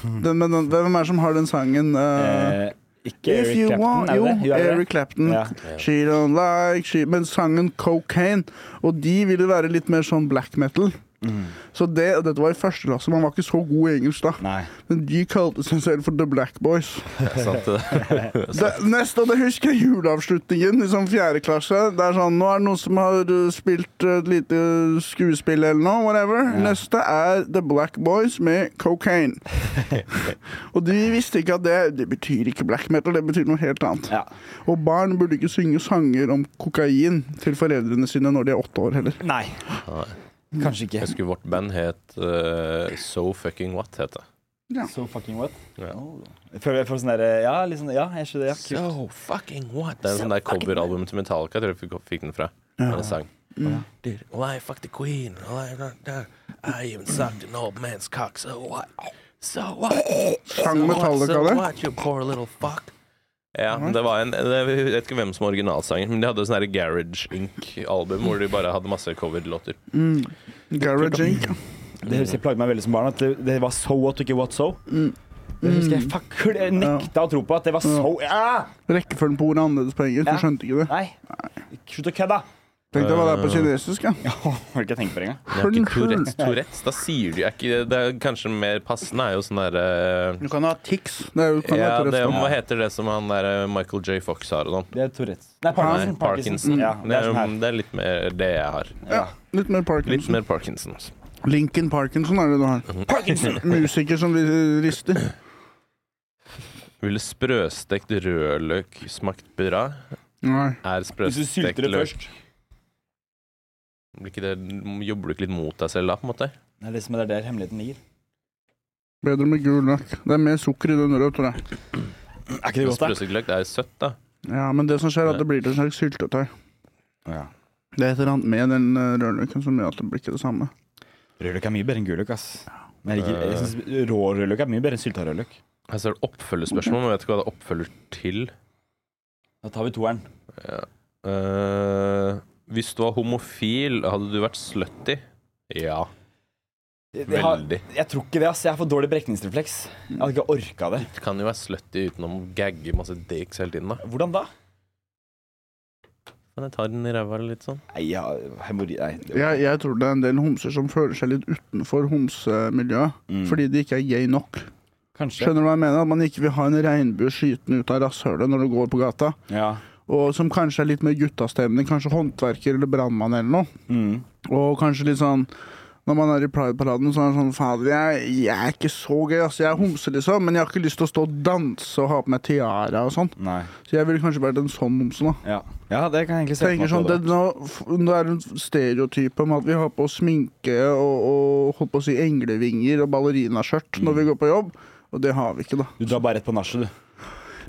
Den, men den, hvem er det som har den sangen? eh,
Eh, ikke
If you
Eric Clapton,
want-
er det det?
Jo,
Jo, er det
Eric
det?
Clapton.
Ja.
She don't like she, Men sangen Cocaine. Og de ville være litt mer sånn black metal.
Mm.
Så det, og Dette var i første klasse, man var ikke så god i engelsk da.
Nei.
Men de kalte seg selv for The Black Boys.
Sant det?
Det, neste, og det husker jeg juleavslutningen i sånn fjerde klasse. Det er sånn, Nå er det noen som har uh, spilt uh, et lite skuespill eller noe. whatever. Neste er The Black Boys med Cocaine. og de visste ikke at det, det betyr ikke black metal, det betyr noe helt annet.
Ja.
Og barn burde ikke synge sanger om kokain til foreldrene sine når de er åtte år heller.
Nei. Kanskje ikke.
Jeg husker vårt band het eh, So Fucking What, het det.
So fucking what?
Ja.
Oh. Jeg føler jeg får sånn der Ja, litt sånn, ja jeg skjønner. Ja, kult.
So Fucking What. Det er en sånn der coveralbum til Metallica, jeg tror jeg fikk, fikk den fra. Det er en sang. Dude, well, I fucked the queen. Well, I, I even sucked an old man's cock. So what? So what?
Sang Metallica det?
what, you poor little fuck? Ja, men det var en det, Jeg vet ikke hvem som var originalsanger, men de hadde sånn her Garage Inc.-album hvor de bare hadde masse coverlåter.
Garage Inc.
Det husker jeg plagde meg veldig som barn at det, det var so what, ikke what so. Det husker jeg fuck, jeg nekta å tro på at det var so ja.
Rekkefølgen på ordet er annerledes på engelsk.
Ja.
Du skjønte ikke det.
Nei. Slutt å kødde.
Tenk deg hva det er på kinesisk. Ja.
Har ikke tenkt på det engang.
Det er ikke
Skjønn, skjønn.
Tourettes, Tourettes. Da sier de er ikke Det er kanskje mer passende er jo sånn derre
Du kan ha tics. Det er jo, kan
Ja,
hete
det,
resten.
hva heter det som han der eh, Michael J. Fox har og sånn?
Det er Tourettes. Nei,
Nei,
Parkinson.
Parkinson.
Ja,
Det
det er sånn
er,
her.
det er litt mer det jeg har.
ja. Litt mer
Litt
Parkinson.
mer Parkinson. altså.
Lincoln Parkinson er det du har.
Parkinson!
Musiker som ri- rister.
Ville sprøstekt rødløk smakt bra?
Nei.
Er
Hvis du
sprøstekt
sylter det
løk
først.
Blir ikke det, Jobber du ikke litt mot deg selv da, på en måte?
Det er liksom det er der hemmeligheten ligger.
Bedre med gul løk. Det er mer sukker i den røde, tror jeg.
Er ikke det godt, da?
Sprøstekt løk, det er søtt, da.
Ja, men det som skjer, er at det blir til en slags syltetøy.
Ja.
Det er et eller annet med den eh, rødløken som gjør at det blir ikke det samme.
Rødløk er mye bedre enn gulløk, ass. Men jeg, liker- jeg synes rå rødløk er mye bedre enn sylta rødløk.
Her ser du oppfølgespørsmål, men jeg vet ikke hva det oppfølger til.
Da tar vi toeren.
Ja. Eh, hvis du var homofil, hadde du vært slutty? Ja,
Jeg, har,
veldig.
jeg tror ikke det, ass. Jeg har for dårlig brekningsrefleks. Jeg hadde ikke orka det.
Du kan jo være slutty uten å gagge masse dicks hele tiden, da.
Hvordan da?
Men jeg tar den i ræva litt sånn.
Nei, jeg har hemorri... Nei. det-
Jeg, jeg tror det er en del homser som føler seg litt utenfor homsemiljøet.
Mm.
Fordi de ikke er gay nok.
Kanskje.
Skjønner du hva jeg mener? At man ikke vil ha en regnbue skytende ut av rasshølet når du går på gata.
Ja.
Og som kanskje er litt mer guttastemning. Kanskje håndverker eller brannmann eller noe.
Mm.
Og kanskje litt sånn når man er i Pride-paraden, så er det sånn Fader, jeg, jeg er ikke så gøy, altså. Jeg er homse, liksom, men jeg har ikke lyst til å stå og danse og ha på meg tiara og sånn.
Nei.
Så jeg ville kanskje vært en sånn homse, da.
Ja. ja, det kan jeg egentlig se for meg
tenker sånn,
på
det,
det.
nå, f- nå er det en stereotype om at vi har på oss sminke og, og holdt på å si englevinger og ballerinaskjørt når vi går på jobb. Og det har vi ikke, da.
Du drar bare rett på nachet, du.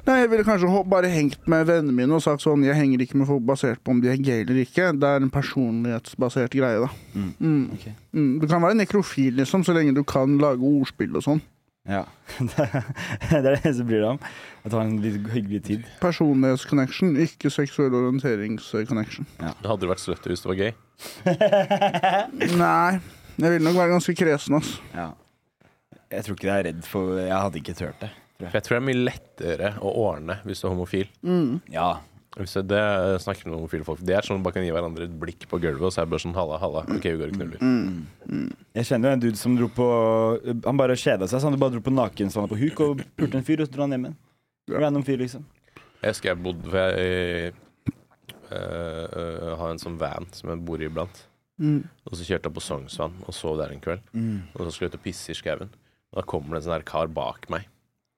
Nei, Jeg ville kanskje ho- bare hengt med vennene mine og sagt sånn Jeg henger ikke med folk basert på om de er gay eller ikke. Det er en personlighetsbasert greie, da.
Mm.
Mm.
Ok.
Mm. Du kan være nekrofil, liksom, så lenge du kan lage ordspill og sånn.
Ja. det er det eneste du bryr deg om. At du har en litt hyggelig tid.
Personlighetsconnection, ikke seksuell orienteringsconnection.
Du hadde vært slutty hvis det var gøy.
Nei. Jeg ville nok være ganske kresen, ass.
Ja. Jeg tror ikke jeg er redd for Jeg hadde ikke turt det.
For jeg tror det er mye lettere å ordne hvis du er homofil.
Ja.
Hvis jeg, det snakker om homofile folk. Det er sånn at man bare kan gi hverandre et blikk på gulvet, og så er det bare sånn halla, halla. OK, vi går og knuller.
Jeg kjenner jo en dude som dro på Han bare kjeda seg. Så han bare dro på nakensvannet på huk og pulte en fyr, og så dro han hjem igjen. Random fyr, liksom.
Jeg husker jeg bodde For jeg eh, eh, har en sånn van som jeg bor i iblant.
Mm.
Og så kjørte jeg på Sognsvann og sov der en kveld.
Mm.
Og så skulle jeg ut og pisse i skauen. Og da kommer det en sånn her kar bak meg.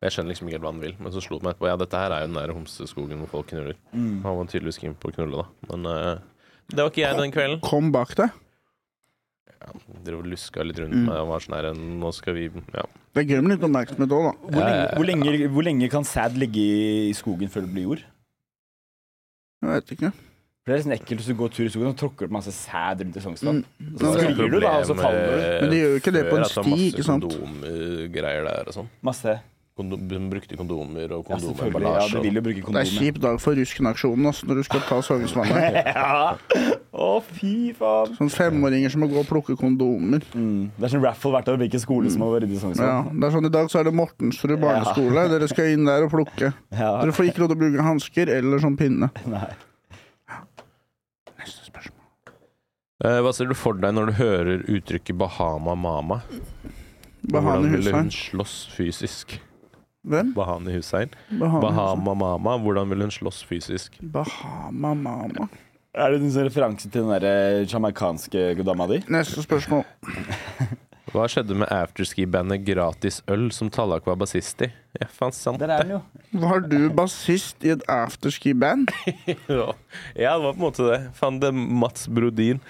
Og Jeg skjønner liksom ikke helt hva han vil, men så slo det meg etterpå. Ja, dette her er jo den der homseskogen hvor folk knuller.
Mm.
Han var tydeligvis keen på å knulle, da. Men eh, det var ikke jeg den kvelden.
Kom bak deg.
Ja, Drev og luska litt rundt
Mm.
meg og var sånn her Nå skal vi Ja.
Det er gøy med litt oppmerksomhet òg, da.
Hvor lenge, hvor, lenge, hvor lenge kan sæd ligge i, i skogen før det blir jord?
Jeg vet ikke.
For Det er liksom ekkelt hvis du går tur i skogen og tråkker opp masse sæd rundt i Sognsvann.
Mm.
Det
Og Så
var et
sklir du, da, og så
problem,
faller du.
eh,
Men de gjør jo ikke det på
før
en
at var
sti,
masse
ikke sant?
Kondomgreier der og sånn.
Masse.
Kondom, hun brukte kondomer og
Ja, selvfølgelig. Ja,
kondomellasje.
du vil jo bruke
Det er en
kondomet.
kjip dag for ruskenaksjonen ass, når du skal ta Sognsvannet.
Ja. Å, fy faen.
Sånn femåringer som må gå og plukke kondomer.
Mm. Det er sånn raffle hvert år hvilken skole som må rydde
Ja,
Sognsvann.
det er sånn I dag så er det Mortensrud barneskole. Dere skal inn der og plukke.
Ja.
Dere får ikke lov til å bruke hansker eller sånn pinne.
Nei.
Neste spørsmål.
Eh, Hva ser du for deg når du hører uttrykket 'Bahama mama'?
Bahani
Hvordan ville hun
Hussein.
slåss fysisk?
Hvem?
Bahani Hussein.
Bahani Hussein.
Bahama mama, hvordan vil hun slåss fysisk?
Bahama Mama.
Er det en sånn referanse til den der eh, jamaicanske dama di?
Neste spørsmål.
Hva skjedde med afterski-bandet Gratis Øl, som Tallak var bassist i? Ja, faen sant
Der er den jo.
Var du bassist i et afterski-band?
Ja, Ja, det var på en måte det. Faen, det er Mats Brodin.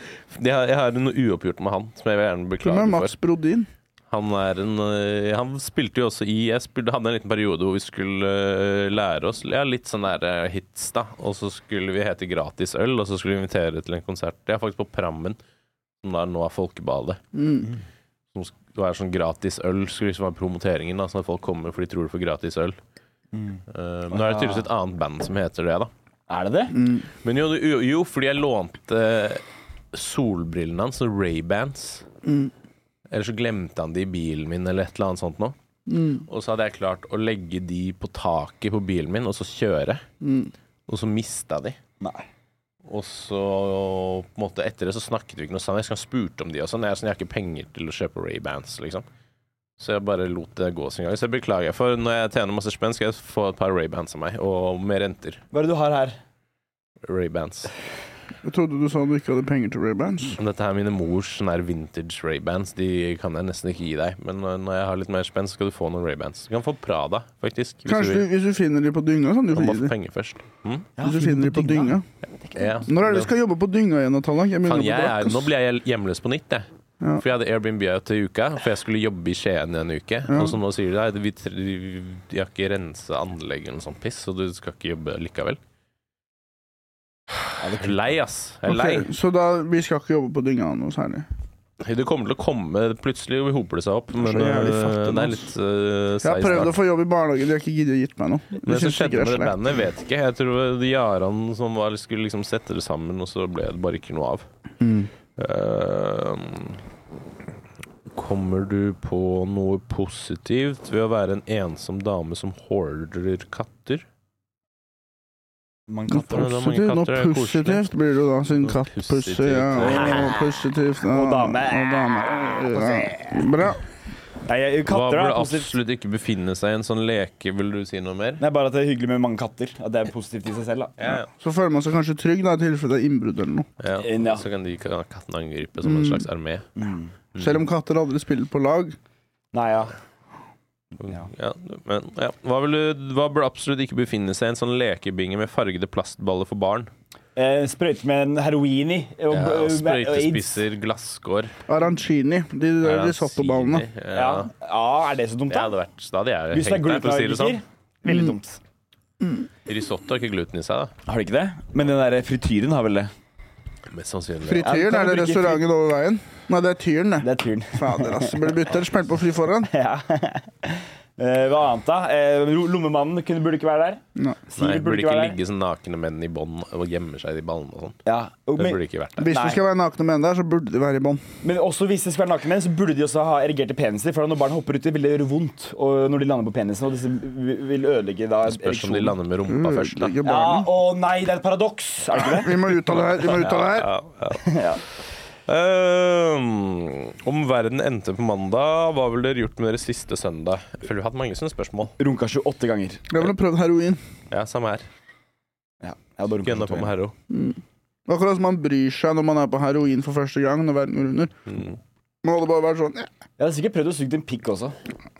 Jeg har, jeg har noe uoppgjort med han, som jeg vil gjerne
Hvem
beklage
er
for.
Mats Brodin?
Han, er en, øh, han spilte jo også i Jeg spilte, hadde en liten periode hvor vi skulle øh, lære oss ja, litt sånn der øh, hits, da. Og så skulle vi hete Gratis øl, og så skulle vi invitere til en konsert. Det er faktisk på Prammen, som da nå er Folkebadet.
Mm.
Som sk- det er sånn gratis øl skulle liksom være promoteringen, da, sånn at folk kommer for de tror de får gratis øl. Eh, nå er det tydeligvis et annet band som heter det, da.
Er det det?
Mm.
Men jo, jo, jo fordi jeg lånte solbrillene hans, Ray-Bans.
Mm.
Eller så glemte han de i bilen min, eller et eller annet sånt noe.
Mm.
Og så hadde jeg klart å legge de på taket på bilen min, og så kjøre.
Mm.
Og så mista de.
Nei.
Og så på en måte etter det så snakket vi ikke noe sammen. Jeg skal ha spurt om de og sånn. Jeg, er sånn, jeg har ikke penger til å kjøpe Ray-Bans, liksom. Så jeg bare lot det gå sin gang. Så jeg beklager, for når jeg tjener masse spenn, skal jeg få et par Ray-Bans av meg, og med renter.
Hva er det du har her?
Ray-Bans.
Jeg trodde du sa du ikke hadde penger til Ray-Bans.
Men Dette er mine mors sånne her vintage Ray-Bans. De kan jeg nesten ikke gi deg. Men uh, når jeg har litt mer spenn, så skal du få noen Ray-Bans. Du kan få Prada, faktisk. Hvis
Kanskje du,
du vil.
hvis du finner de på dynga, sånn du
Du må
får
få
gi de.
penger først. Hm?
Hvis du finner de på dynga.
Ja.
Når er det du skal jobbe på dynga igjen, Tallak? Jeg
Faen,
begynner
jeg er,
å
nå
bli blakk.
blir jeg hjemløs på nytt, jeg.
Ja.
For jeg hadde Airbnb til uka, for jeg skulle jobbe i Skien i en uke. Og så nå sier de at vi, tre- vi de har ikke rensa anlegget eller noe sånt piss, så du skal ikke jobbe likevel. Jeg er lei, ass. Jeg er lei.
Ok, så da, vi skal ikke jobbe på dynga noe særlig.
Det kommer til å komme plutselig, og vi hoper det seg opp. Men
Så jævlig
øh,
fattig,
det
ass.
er litt uh,
Jeg har prøvd å få jobb i barnehage, de har ikke giddet å gitt meg noe.
Men
De
det som
synes
skjedde med det
sikkert det er slemt.
bandet, vet ikke. Jeg tror det var Jaran som var, skulle liksom sette det sammen, og så ble det bare ikke noe av.
Mm.
Ehm, kommer du på noe positivt ved å være en ensom dame som hoarder katter?
Man
Noe
Katter, det er mange
positivt, noe
katter, det er koselig.
positivt blir det da, siden
Noe
katt
positivt,
pusser. Ja,
ja.
og positivt. Ja,
Og dame.
Og dame. Ja. Bra.
Nei, jeg-
Hva
katter
burde
er positivt.
absolutt ikke befinne seg i en sånn leke? Vil du si noe mer?
Nei, bare at det er hyggelig med mange katter. At det er positivt i seg selv. da
Ja,
Så føler man seg kanskje trygg da, i tilfelle det er innbrudd eller noe.
ja.
Eh, Ja.
ja. Så kan de kan kattene angripe som en
Mm.
slags armé. Mm.
Selv om katter aldri spiller på lag.
Nei, ja. Ja.
Ja, men, ja. Hva, vil du, hva burde absolutt ikke befinne seg i en sånn lekebinge med fargede plastballer for barn?
Eh, sprøyte med en heroin i. Og,
Ja,
og- og-
Sprøytespisser, glasskår
Arancini, de, de,
Ja,
de sottoballene.
sier-
Ja.
Ja.
ja, er det så dumt,
Det
da?
hadde vært Da hadde jeg
Hvis det er
hengt meg, for å si det
glutenallergiker,
sånn.
veldig dumt.
Risotto har ikke gluten i seg, da.
Har det ikke det? Men den der frityren har vel det?
Mest sannsynlig.
Frityren,
Ja, du
er
kan
det
bruke
restauranten over veien? Nei, det er Tyren, det.
Det er tyren.
Fader, ass. Blir bytta eller smelt på fri forhånd?
ja. Eh, hva annet da? Eh, ro- lommemannen kunne, burde ikke være der.
Nei.
Nei,
Sivert
burde ikke ligge sånn nakne menn i bånd og gjemme seg i ballene og sånn.
Ja. og-
Det
Men,
burde ikke vært der.
Hvis
Nei.
det skal være nakne menn der, så burde de være i bånd.
men også hvis det skal være nakenmenn, så burde de også ha erigerte peniser. For når barn hopper uti, vil det gjøre vondt og når de lander på penisen. Og disse vil vil ødelegge da
Spørs om de lander med rumpa først, da.
Ødelegge
Ja,
barnet.
Å nei, det er et paradoks! Er det ikke det?
Vi må uttale her. Vi må uttale her.
Ja, ja. Ehm, om verden endte på mandag, hva ville dere gjort med deres siste søndag? Jeg føler vi har hatt mange sånne spørsmål.
Runka 28 ganger.
Vi har vel prøvd heroin.
Ja, samme her.
Ja, jeg hadde runka
Gønna på
28
med
ganger.
hero.
Akkurat som man bryr seg når man er på heroin for første gang. Når verden går under.
Mm.
Må det bare være sånn ja.
Jeg hadde sikkert prøvd å suge en pikk også.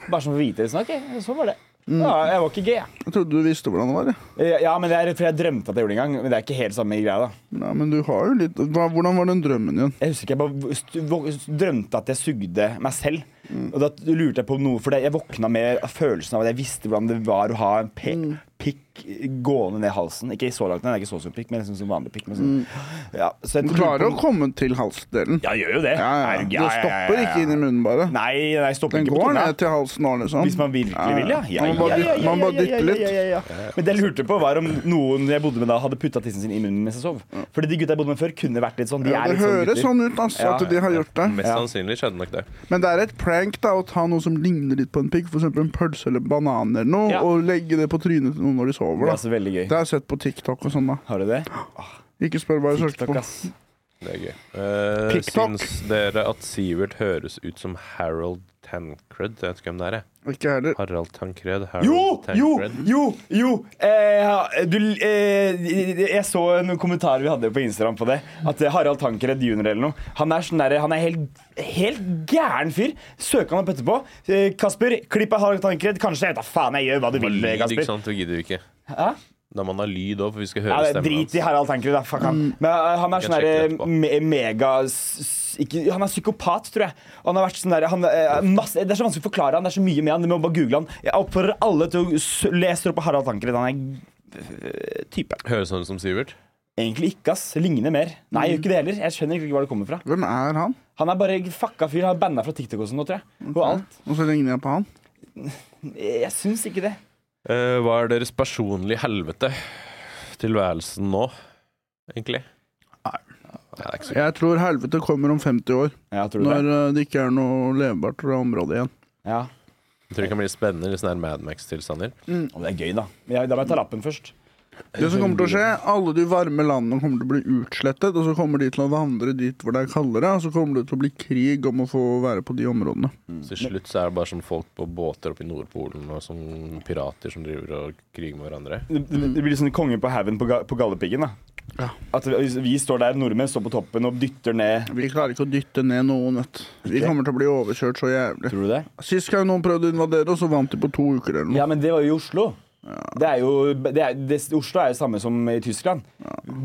Bare sånn for å vite det. Sånn, ok, sånn var det. Ja, jeg var ikke gay, jeg.
Jeg trodde du visste hvordan det var. jeg.
Eh, Ja, men det er fordi jeg drømte at jeg gjorde det en gang. Men det er ikke helt samme greia, da.
Nei, men du har jo litt Hva, Hvordan var den drømmen din?
Jeg husker ikke, jeg bare st- vå- drømte at jeg sugde meg selv.
Mm.
Og da lurte jeg på noe, for jeg våkna med følelsen av at jeg visste hvordan det var å ha en pe
Mm.
pikk gående ned halsen. Ikke så langt ned, det er ikke så stor pikk, men liksom som vanlig pikk. Men sånn. ja, så jeg
Mm. Du
tror
klarer å
på-
komme til halsdelen.
Ja, gjør jo det.
Ja, ja.
Er du-
Det stopper ikke inn i munnen, bare.
Nei, nei, jeg stopper
Den
ikke på
går
tunga.
ned til halsen nå, liksom.
Hvis man virkelig vil, ja. Ja,
Man bare
ja, ja,
dytter- Man bare
ja, ja,
dytter
ja,
litt.
ja, ja, ja. Men det jeg lurte på, var om noen jeg bodde med da, hadde putta tissen sin i munnen mens jeg sov. Fordi de gutta jeg bodde med før, kunne vært litt sånn. De
Ja,
er
det
litt sånn
høres
gutter.
sånn ut altså,
Ja.
at de har gjort det.
Mest
Ja.
sannsynlig skjedde nok det.
Men det er et prank da å ta noe som ligner litt på en pigg, f.eks. en pølse eller banan, eller noe,
Ja.
og legge det på trynet til noen når de
Det
sover.
er
da.
altså veldig gøy.
Det har jeg sett på TikTok og sånn. da
Har du det?
Ikke spør hva jeg søkte
TikTok,
på.
ass.
Det er gøy. Eh,
TikTok.
syns dere at Sivert høres ut som Harold Tancred? Jeg vet ikke hvem det er. jeg.
Ikke heller.
Harald Tancred? Harold
Jo, jo,
Tancred.
jo, jo. Eh, du, eh, jeg så noen kommentarer vi hadde på Instagram på det. At eh, Harald Tankered jr. eller noe. Han er, sånn derre- han er helt, helt gæren fyr. Søk han opp etterpå. Eh, Kasper, klipp av Harald Tankered. Kanskje jeg vet da faen jeg gjør hva du
Det var
vil,
lyd, ikke
Kasper.
sant? Det gidder vi ikke.
Hæ?
Da må man ha lyd òg, for vi skal
Ja,
høre
det er
stemmen hans.
drit i Harald Tankered, da. Fuck han. Men eh, han er
Jeg
sånn
sjekker
derre
etterpå.
me mega s- s- ikke, Han er psykopat, tror jeg. Og Han har vært sånn der, han, eh, masse, det er så vanskelig å forklare han, det er så mye med han. Du må bare google han. Jeg oppfordrer alle til å s- lese opp på Harald Tankered. Han er eh, type.
Høres han ut som Sivert?
Egentlig ikke, ass. Ligner mer. Nei, gjør ikke det heller. Jeg skjønner ikke hvor det kommer fra.
Hvem er han?
Han er bare fucka fyr. Han er banna fra TikTok og sånn nå, tror jeg. Og alt.
Og så ligner jeg på han.
Jeg syns ikke det.
Eh, hva er deres personlige helvete? Tilværelsen nå, egentlig?
Nei.
Nei, det er ikke så
Jeg tror helvete kommer om 50 år,
Ja, tror du
når
det?
eh, det ikke er noe levbart i området igjen.
Ja.
Jeg tror det kan bli spennende. Litt sånn her Mad Max-tilstander.
Og det er gøy, da. Men jeg, da må jeg ta lappen først.
Det som kommer til å skje, alle de varme landene kommer til å bli utslettet, og så kommer de til å vandre dit hvor det er kaldere, og så kommer det til å bli krig om å få være på de områdene.
Mm.
Til slutt så er det bare sånn folk på båter oppe i Nordpolen og som pirater som driver og kriger med hverandre.
Det, det det blir sånn konge på haugen på, ga- på Galdhøpiggen. da.
Ja.
At vi, vi står der, nordmenn står på toppen og dytter ned
Vi klarer ikke å dytte ned noen, vet du. Vi
Ikke?
kommer til å bli overkjørt så jævlig.
Tror du det?
Sist gang noen prøvde å invadere oss, så vant de på to uker eller noe.
Ja, men det var jo i Oslo. Det er jo, det er, det, Oslo er jo samme som i Tyskland.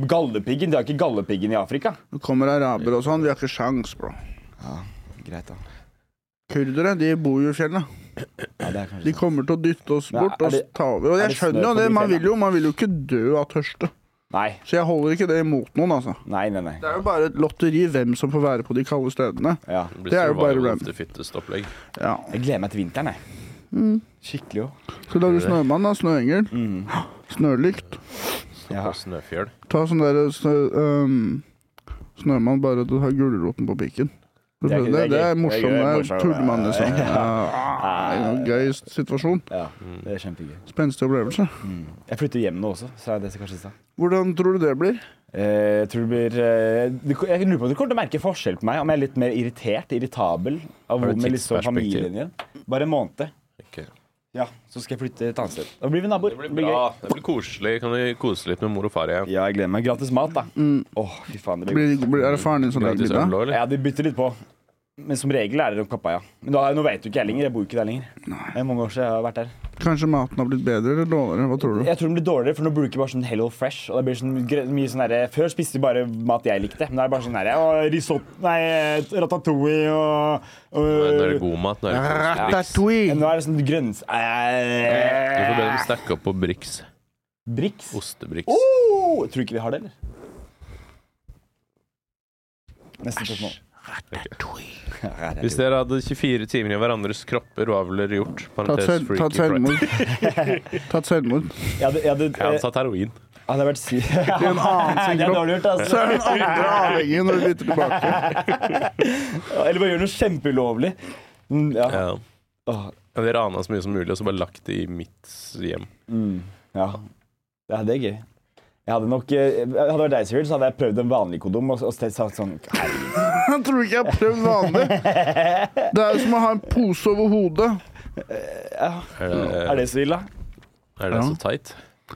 Galdhøpiggen, det er ikke Galdhøpiggen i Afrika.
Nå kommer arabere og sånn, vi har ikke sjans, bro.
Greit, da.
Kurdere, de bor jo i fjellet.
Ja, det er kanskje
De kommer til å dytte oss
Men er-
bort og
er det-
ta over. Og
er
jeg
det snø
skjønner jo
på
det,
de
man
fjellene?
vil jo, man vil jo ikke dø av tørste.
Nei,
Så jeg holder ikke det imot noen, altså.
nei, nei. nei.
Det er jo bare et lotteri hvem som får være på de kalde stedene.
Ja.
blir
Det er jo bare
survival
random.
of the fittest-opplegg.
Ja.
Jeg gleder meg til vinteren, jeg. Skikkelig òg.
Så lager du snømann, da. Snøengel.
Mm.
Snølykt.
Ja.
Og Snøfjell.
Ta sånn derre snø, øhm, snømann, bare at du har gulroten på pikken.
Det er
Det,
ikke-
det,
det er
er
gøy.
morsomt.
Det er gøy,
Det er
morsomt.
Tullemann, liksom.
Ja.
Ja, det er en gøy situasjon.
Ja, det er kjempegøy.
Spenstig opplevelse.
Mm. Jeg flytter hjem nå også, sa jeg det kanskje i stad.
Hvordan tror du det blir?
Eh, Jeg tror det blir eh, du- Jeg lurer på om du kommer til å merke forskjell på meg. Om jeg er litt mer irritert, irritabel
Har
av hvor
du
med liksom
tidsperspektiv?
familien igjen. Bare en måned.
Ok.
Ja, Så skal jeg flytte et annet sted. Da blir vi naboer.
Det blir bra. Det blir koselig. Kan vi kose litt med mor og far igjen?
Ja, jeg gleder meg. Gratis mat, da. Åh, fy faen, det blir
Mm. blir, blir er det faren din som lager
Gratis øl
middag?
òg, eller?
Ja, de bytter litt på. Men som regel er det nok pappa, ja. Men da, nå vet jo ikke jeg lenger. Jeg bor jo ikke der lenger. Det er mange år siden jeg har vært der.
Kanskje maten har blitt bedre eller dårligere? Hva tror du?
Jeg tror den blir dårligere, for nå bruker jeg bare sånn Hello Fresh. Og det blir sånn, gre- mye sånn derre- Før spiste vi bare mat jeg likte. Men nå er det bare sånn derre «Å, Risotto Nei, ratatouille og, og
Nå er det god mat. Nå er det koselig. Brix.
Ratatouille!
Nå er det sånn grønns...
Du får
Eh,
bedre stacke opp på Brix.
Brix.
Ostebrix.
Oh, tror du ikke vi har det, eller? Nesten spørsmål.
Hvis dere hadde 24 timer i hverandres kropper, hva ville dere gjort?
Tatt,
Parentes
selv,
freaky
tatt
friday.
selvmord. tatt selvmord.
Jeg hadde, jeg hadde,
Jeg hadde tatt heroin.
eh, hadde vært si
I en annen sin
Det er
kropp.
dårlig gjort,
Så
altså.
er den andre avhengig når du bytter tilbake.
Eller bare gjør noe kjempeulovlig. Mm, Ja.
Ja.
Åh,
Jeg hadde rana så mye som mulig og så bare lagt det i mitt hjem.
Mm, ja. ja, det er gøy. Jeg hadde nok, eh, hadde vært deg, Sivert, så hadde jeg prøvd en vanlig kondom og, og sagt sånn
Han tror ikke jeg har prøvd vanlig. Det er jo som å ha en pose over hodet.
Er det,
Er det så ille?
er det
Ja.
så teit?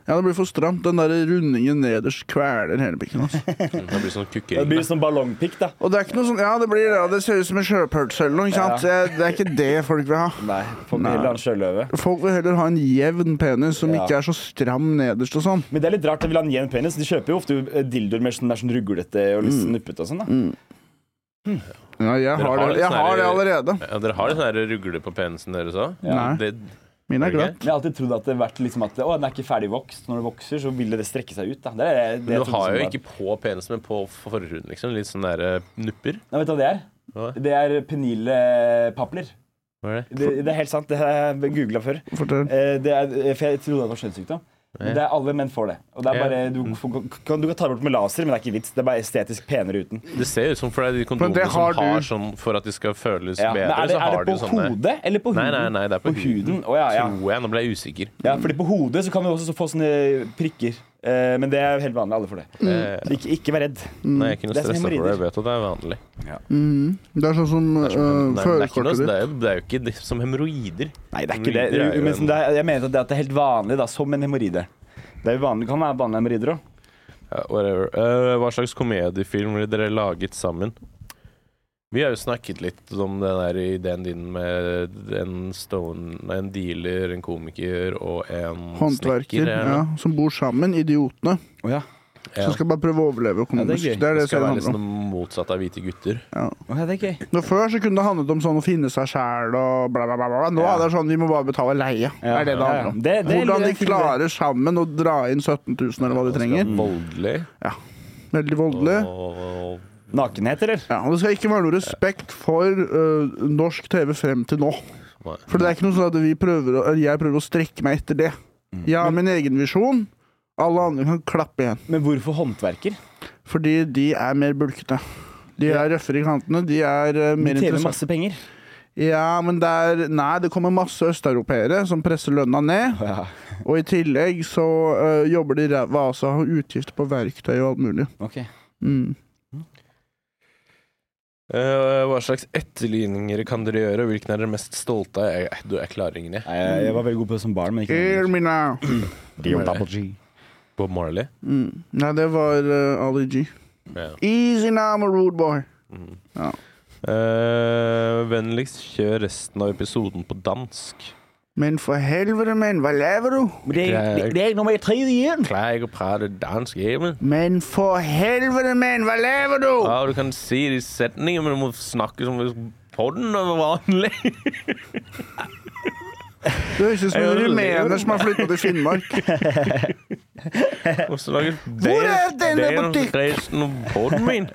Ja, det blir for stramt. Den der rundingen nederst kveler hele pikken. Altså.
Det blir sånn
Det blir
kukkering.
sånn ballongpikk, da.
Og det er ikke noe sånn Ja, det blir det. og Det ser ut som en sjøpølse eller noe. ikke sant? Det, det er ikke det folk vil ha.
Nei, får
Nei.
heller ha en sjøløve.
Folk vil heller ha en jevn penis som
Ja.
ikke er så stram nederst og sånn.
Men det er litt rart, jeg vil ha en jevn penis. De kjøper jo ofte eh, dildoer med sånn, der sånn ruglete og litt sånn nuppete og sånn, da.
Ja, jeg
Dere har
har det,
litt
jeg har det
sånn her-
allerede.
Ja, dere har sånne her rugler på penisen deres òg?
Nei.
Det,
Min er
Ok.
glatt.
Men jeg har alltid trodd at det har vært liksom at å, den er ikke ferdig vokst. Når det vokser, så vil det strekke seg ut. Da. Det er det, jeg- det
men du
jeg trodde
har
som
jo
barn.
ikke på penisen, men på forhuden, liksom. Litt sånne der nupper.
Nei, vet du hva det er?
Hva?
Det er penile papler.
Hva er det?
Det, det er helt sant. Det har jeg googla før.
Fortell.
Eh, Det er, for jeg trodde det var skjønnssykdom. Men det er alle menn får det. Og det er
Ja.
bare, du, får- kan, du kan ta det bort med laser, men det er ikke vits. Det er bare estetisk penere uten.
Det ser ut som for det er de
Men det
kondomene
har
som
du.
har sånn for at de skal føles
Ja. Men
bedre,
er det,
så har
er
de
det
jo
på
sånne
hodet eller på
Nei,
huden?
nei, nei, det er på,
På huden. Å, ja, ja.
Tror jeg. Nå ble jeg usikker.
ja, fordi på hodet så kan du også få sånne prikker. Eh, Men det er jo helt vanlig. Alle får det.
Eh,
Så ikke, ikke vær redd.
Nei, jeg er ikke noe
Mm. Det er som
stressa for det. Jeg
hemorrider.
vet at det er vanlig.
Mhm. Det er sånn som
Det er som-
øh,
nei, det er ikke noe-
førerkortet
det
ditt.
er jo- det er jo ikke det, som hemoroider.
Nei, det er ikke det.
Hemorrider er jo
Men
en-
som det er, jeg mener at det, at det er helt vanlig, da, som en hemoroide. Det er jo vanlig, kan være vanlige hemoroider òg.
Ja, whatever. Eh, hva slags komediefilm ville dere laget sammen? Vi har jo snakket litt om den der ideen din med en, stone, nei, en dealer, en komiker og en
Håndverker
snekker.
ja, som bor sammen, idiotene.
Oh, ja.
Som skal bare prøve å overleve økonomisk.
Ja, det er gøy.
det er det
det skal
serien
være
handler om.
liksom motsatt av hvite gutter.
Å, ja, det er gøy.
Nå Før så kunne det handlet om sånn å finne seg sjæl og bla, bla, bla. bla. Nå
Ja.
er det sånn vi må bare betale leie.
Ja,
er det
ja,
det handler
ja.
om.
Det- det-
Hvordan de
det-
klarer sammen å dra inn 17 000 eller hva
Det
de
skal
trenger.
være Voldelig.
Veldig voldelig.
Og
Nakenhet, eller?
Ja, og Det skal ikke være noe respekt for øh, norsk TV frem til nå.
Nei.
For det er ikke noe sånn at vi prøver å, eller jeg prøver å strekke meg etter det.
Mm.
Jeg har min egen visjon. Alle andre kan klappe igjen.
Men hvorfor håndverker?
Fordi de er mer bulkete. De er røffere i kantene. De er
De
øh, mer
tjener
interessante.
masse penger.
Ja, men det er Nei, det kommer masse østeuropeere som presser lønna ned.
Ja.
Og i tillegg så øh, jobber de ræva altså, har utgifter på verktøy og alt mulig.
Ok.
Mm.
Eh, hva slags etterligninger kan dere gjøre, og hvilken er dere mest stolte av? Jeg, du, jeg klarer ingen, jeg.
Nei, jeg, jeg var veldig god på det som barn, men ikke
Hear me now.
Bob Marley.
Mm. Nei, det var øh, Ali G.
Ja.
Easy now, my rude boy.
Mhm.
Ja.
Eh, vennligst kjør resten av episoden på dansk.
Men for helvete, men, hva laver du?
Men det, er, det, det er ikke nummer tre igjen!
Klarer ikke å prate dansk, Emil.
Men for helvete, men, hva laver du?
Ja, du kan si det i setninger, men du må snakke som på den er vanlig.
Du høres ut som
Jeg
en
gjør det.
rumener som har flytta til Finnmark.
Og snakke
Hvor er denne butikk?
resten av podden min?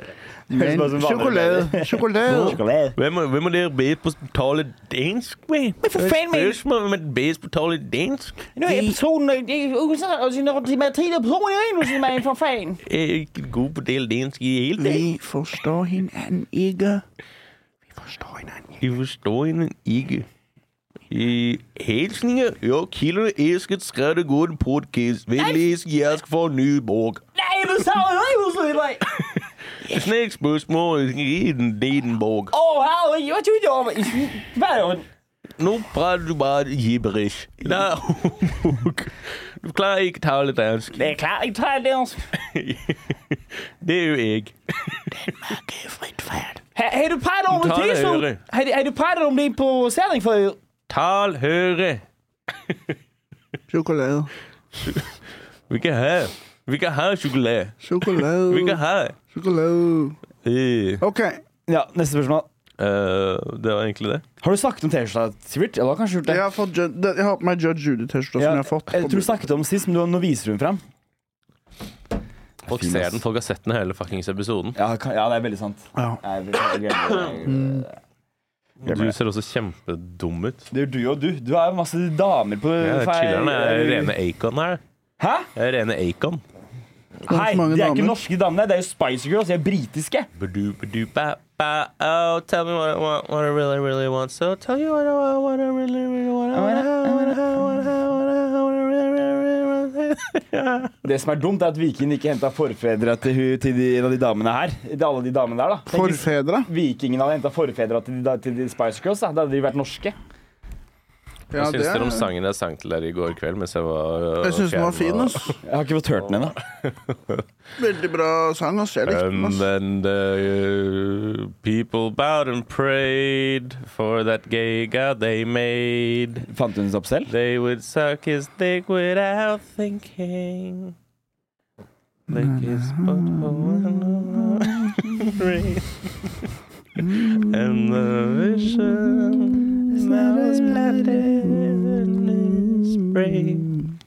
Men
bare som vanlig.
sjokolade. Sjokolade.
Sjokolade.
Hvem, er- hvem er dere bedst på å tale dansk med? Men
for faen, men-
Spørsmål om hvem er bedst på å tale dansk?
Nu er episoden, det er udsat, og når de er tredje episode er en, så man for fan.
Jeg er ikke god på å tale dansk i det hele tatt.
Vi forstår hinanden ikke. Vi forstår hinanden ikke.
Jeg forstår hende ikke. I hilsninger og kilder elsket skrevet god podcast. Vennligst jæsk for Nyborg.
Nej, men så er det jo slet ikke.
Snakk spørsmål i den Dedenborg.
Åh, herre, jeg tror det var... Hvad er det?
Nå prater du bare gibberish. Nei, du klarer ikke tale dansk.
Det er klart, ikke tager
altså.
dansk.
Det er jo jeg.
Har har du pratet om
Du
det
tager
til
det,
sådan?
Ulrik.
Har har du pratet om det på særing for øvrigt?
Tal høyre.
Sjokolade.
Vi kan ha. Vi kan ha sjokolade.
Sjokolade.
Vi kan ha.
Sjokolade.
Øh,
OK.
Ja, neste spørsmål.
øh, det var egentlig det.
Har du snakket om T-skjorta, Sivert? Ja, du har kanskje gjort det.
Jeg har, fått, Ju- det- jeg har på meg Judge Judy-T-skjorta
Eh,
Ja, Eh,
som jeg har fått.
tror du snakket om den sist, men nå- nå viser du den fram.
Folk
Fin,
ser
ass.
den, folk har sett den hele fuckings episoden.
Ja, kan, ja, det er veldig sant.
Ja.
Jeg vil- jeg glemmer det.
Du ser også kjempedum ut.
Mm. Det gjør du og du. Du har masse damer på
Jeg er
Mm, feil-
chiller'n. Jeg er rene Acon her.
Hæ?
Jeg er rene Acon.
Hei,
så mange
de er
damer.
ikke norske damene. Det er jo Spice Girls. De er britiske.
Ba-do, ba-do, ba, ba. Oh, tell me what I want, what I really, really want. So tell you what I want, what I really, really want. I wanna have, wanna have, wanna have, wanna have, what I really, really, really want. Ja.
Det som er dumt, er at Viking ikke henta forfedra til, hu- til de, en av de damene her. Til alle de damene der, da. Tenk hvis
Forfedre?
Vikingene hadde henta forfedra til, de da- til de Spice Girls. Da. da hadde de vært norske.
Hva
Ja,
syns dere om
det-
sangen jeg sang til dere i går kveld? Mens jeg var øh,
Jeg syns den var
fjern
fin,
og-
ass.
Jeg har ikke fått hørt den ennå.
Veldig bra sang, ass. Jeg likte den,
And
ass.
then the øh, people bowed and prayed for that gay god they made.
Fant hun den opp selv?
They would suck his dick without thinking. Lick his butthole and rain. And the vision that was planted in his brain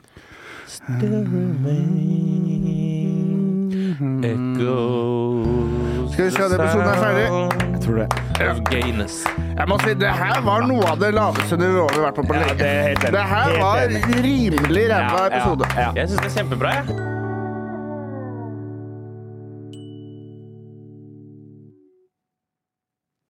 still
Mm-hmm.
remains. Echoes.
Skal vi se at episoden er ferdig?
Jeg tror det. Of gayness.
Jeg må si, det her var noe av det laveste nivået vi har vært på på lenge.
det er helt enig.
Det her
Helt
var
enig.
rimelig ræva
Ja,
episode.
Ja, ja.
Jeg syns det er kjempebra, jeg.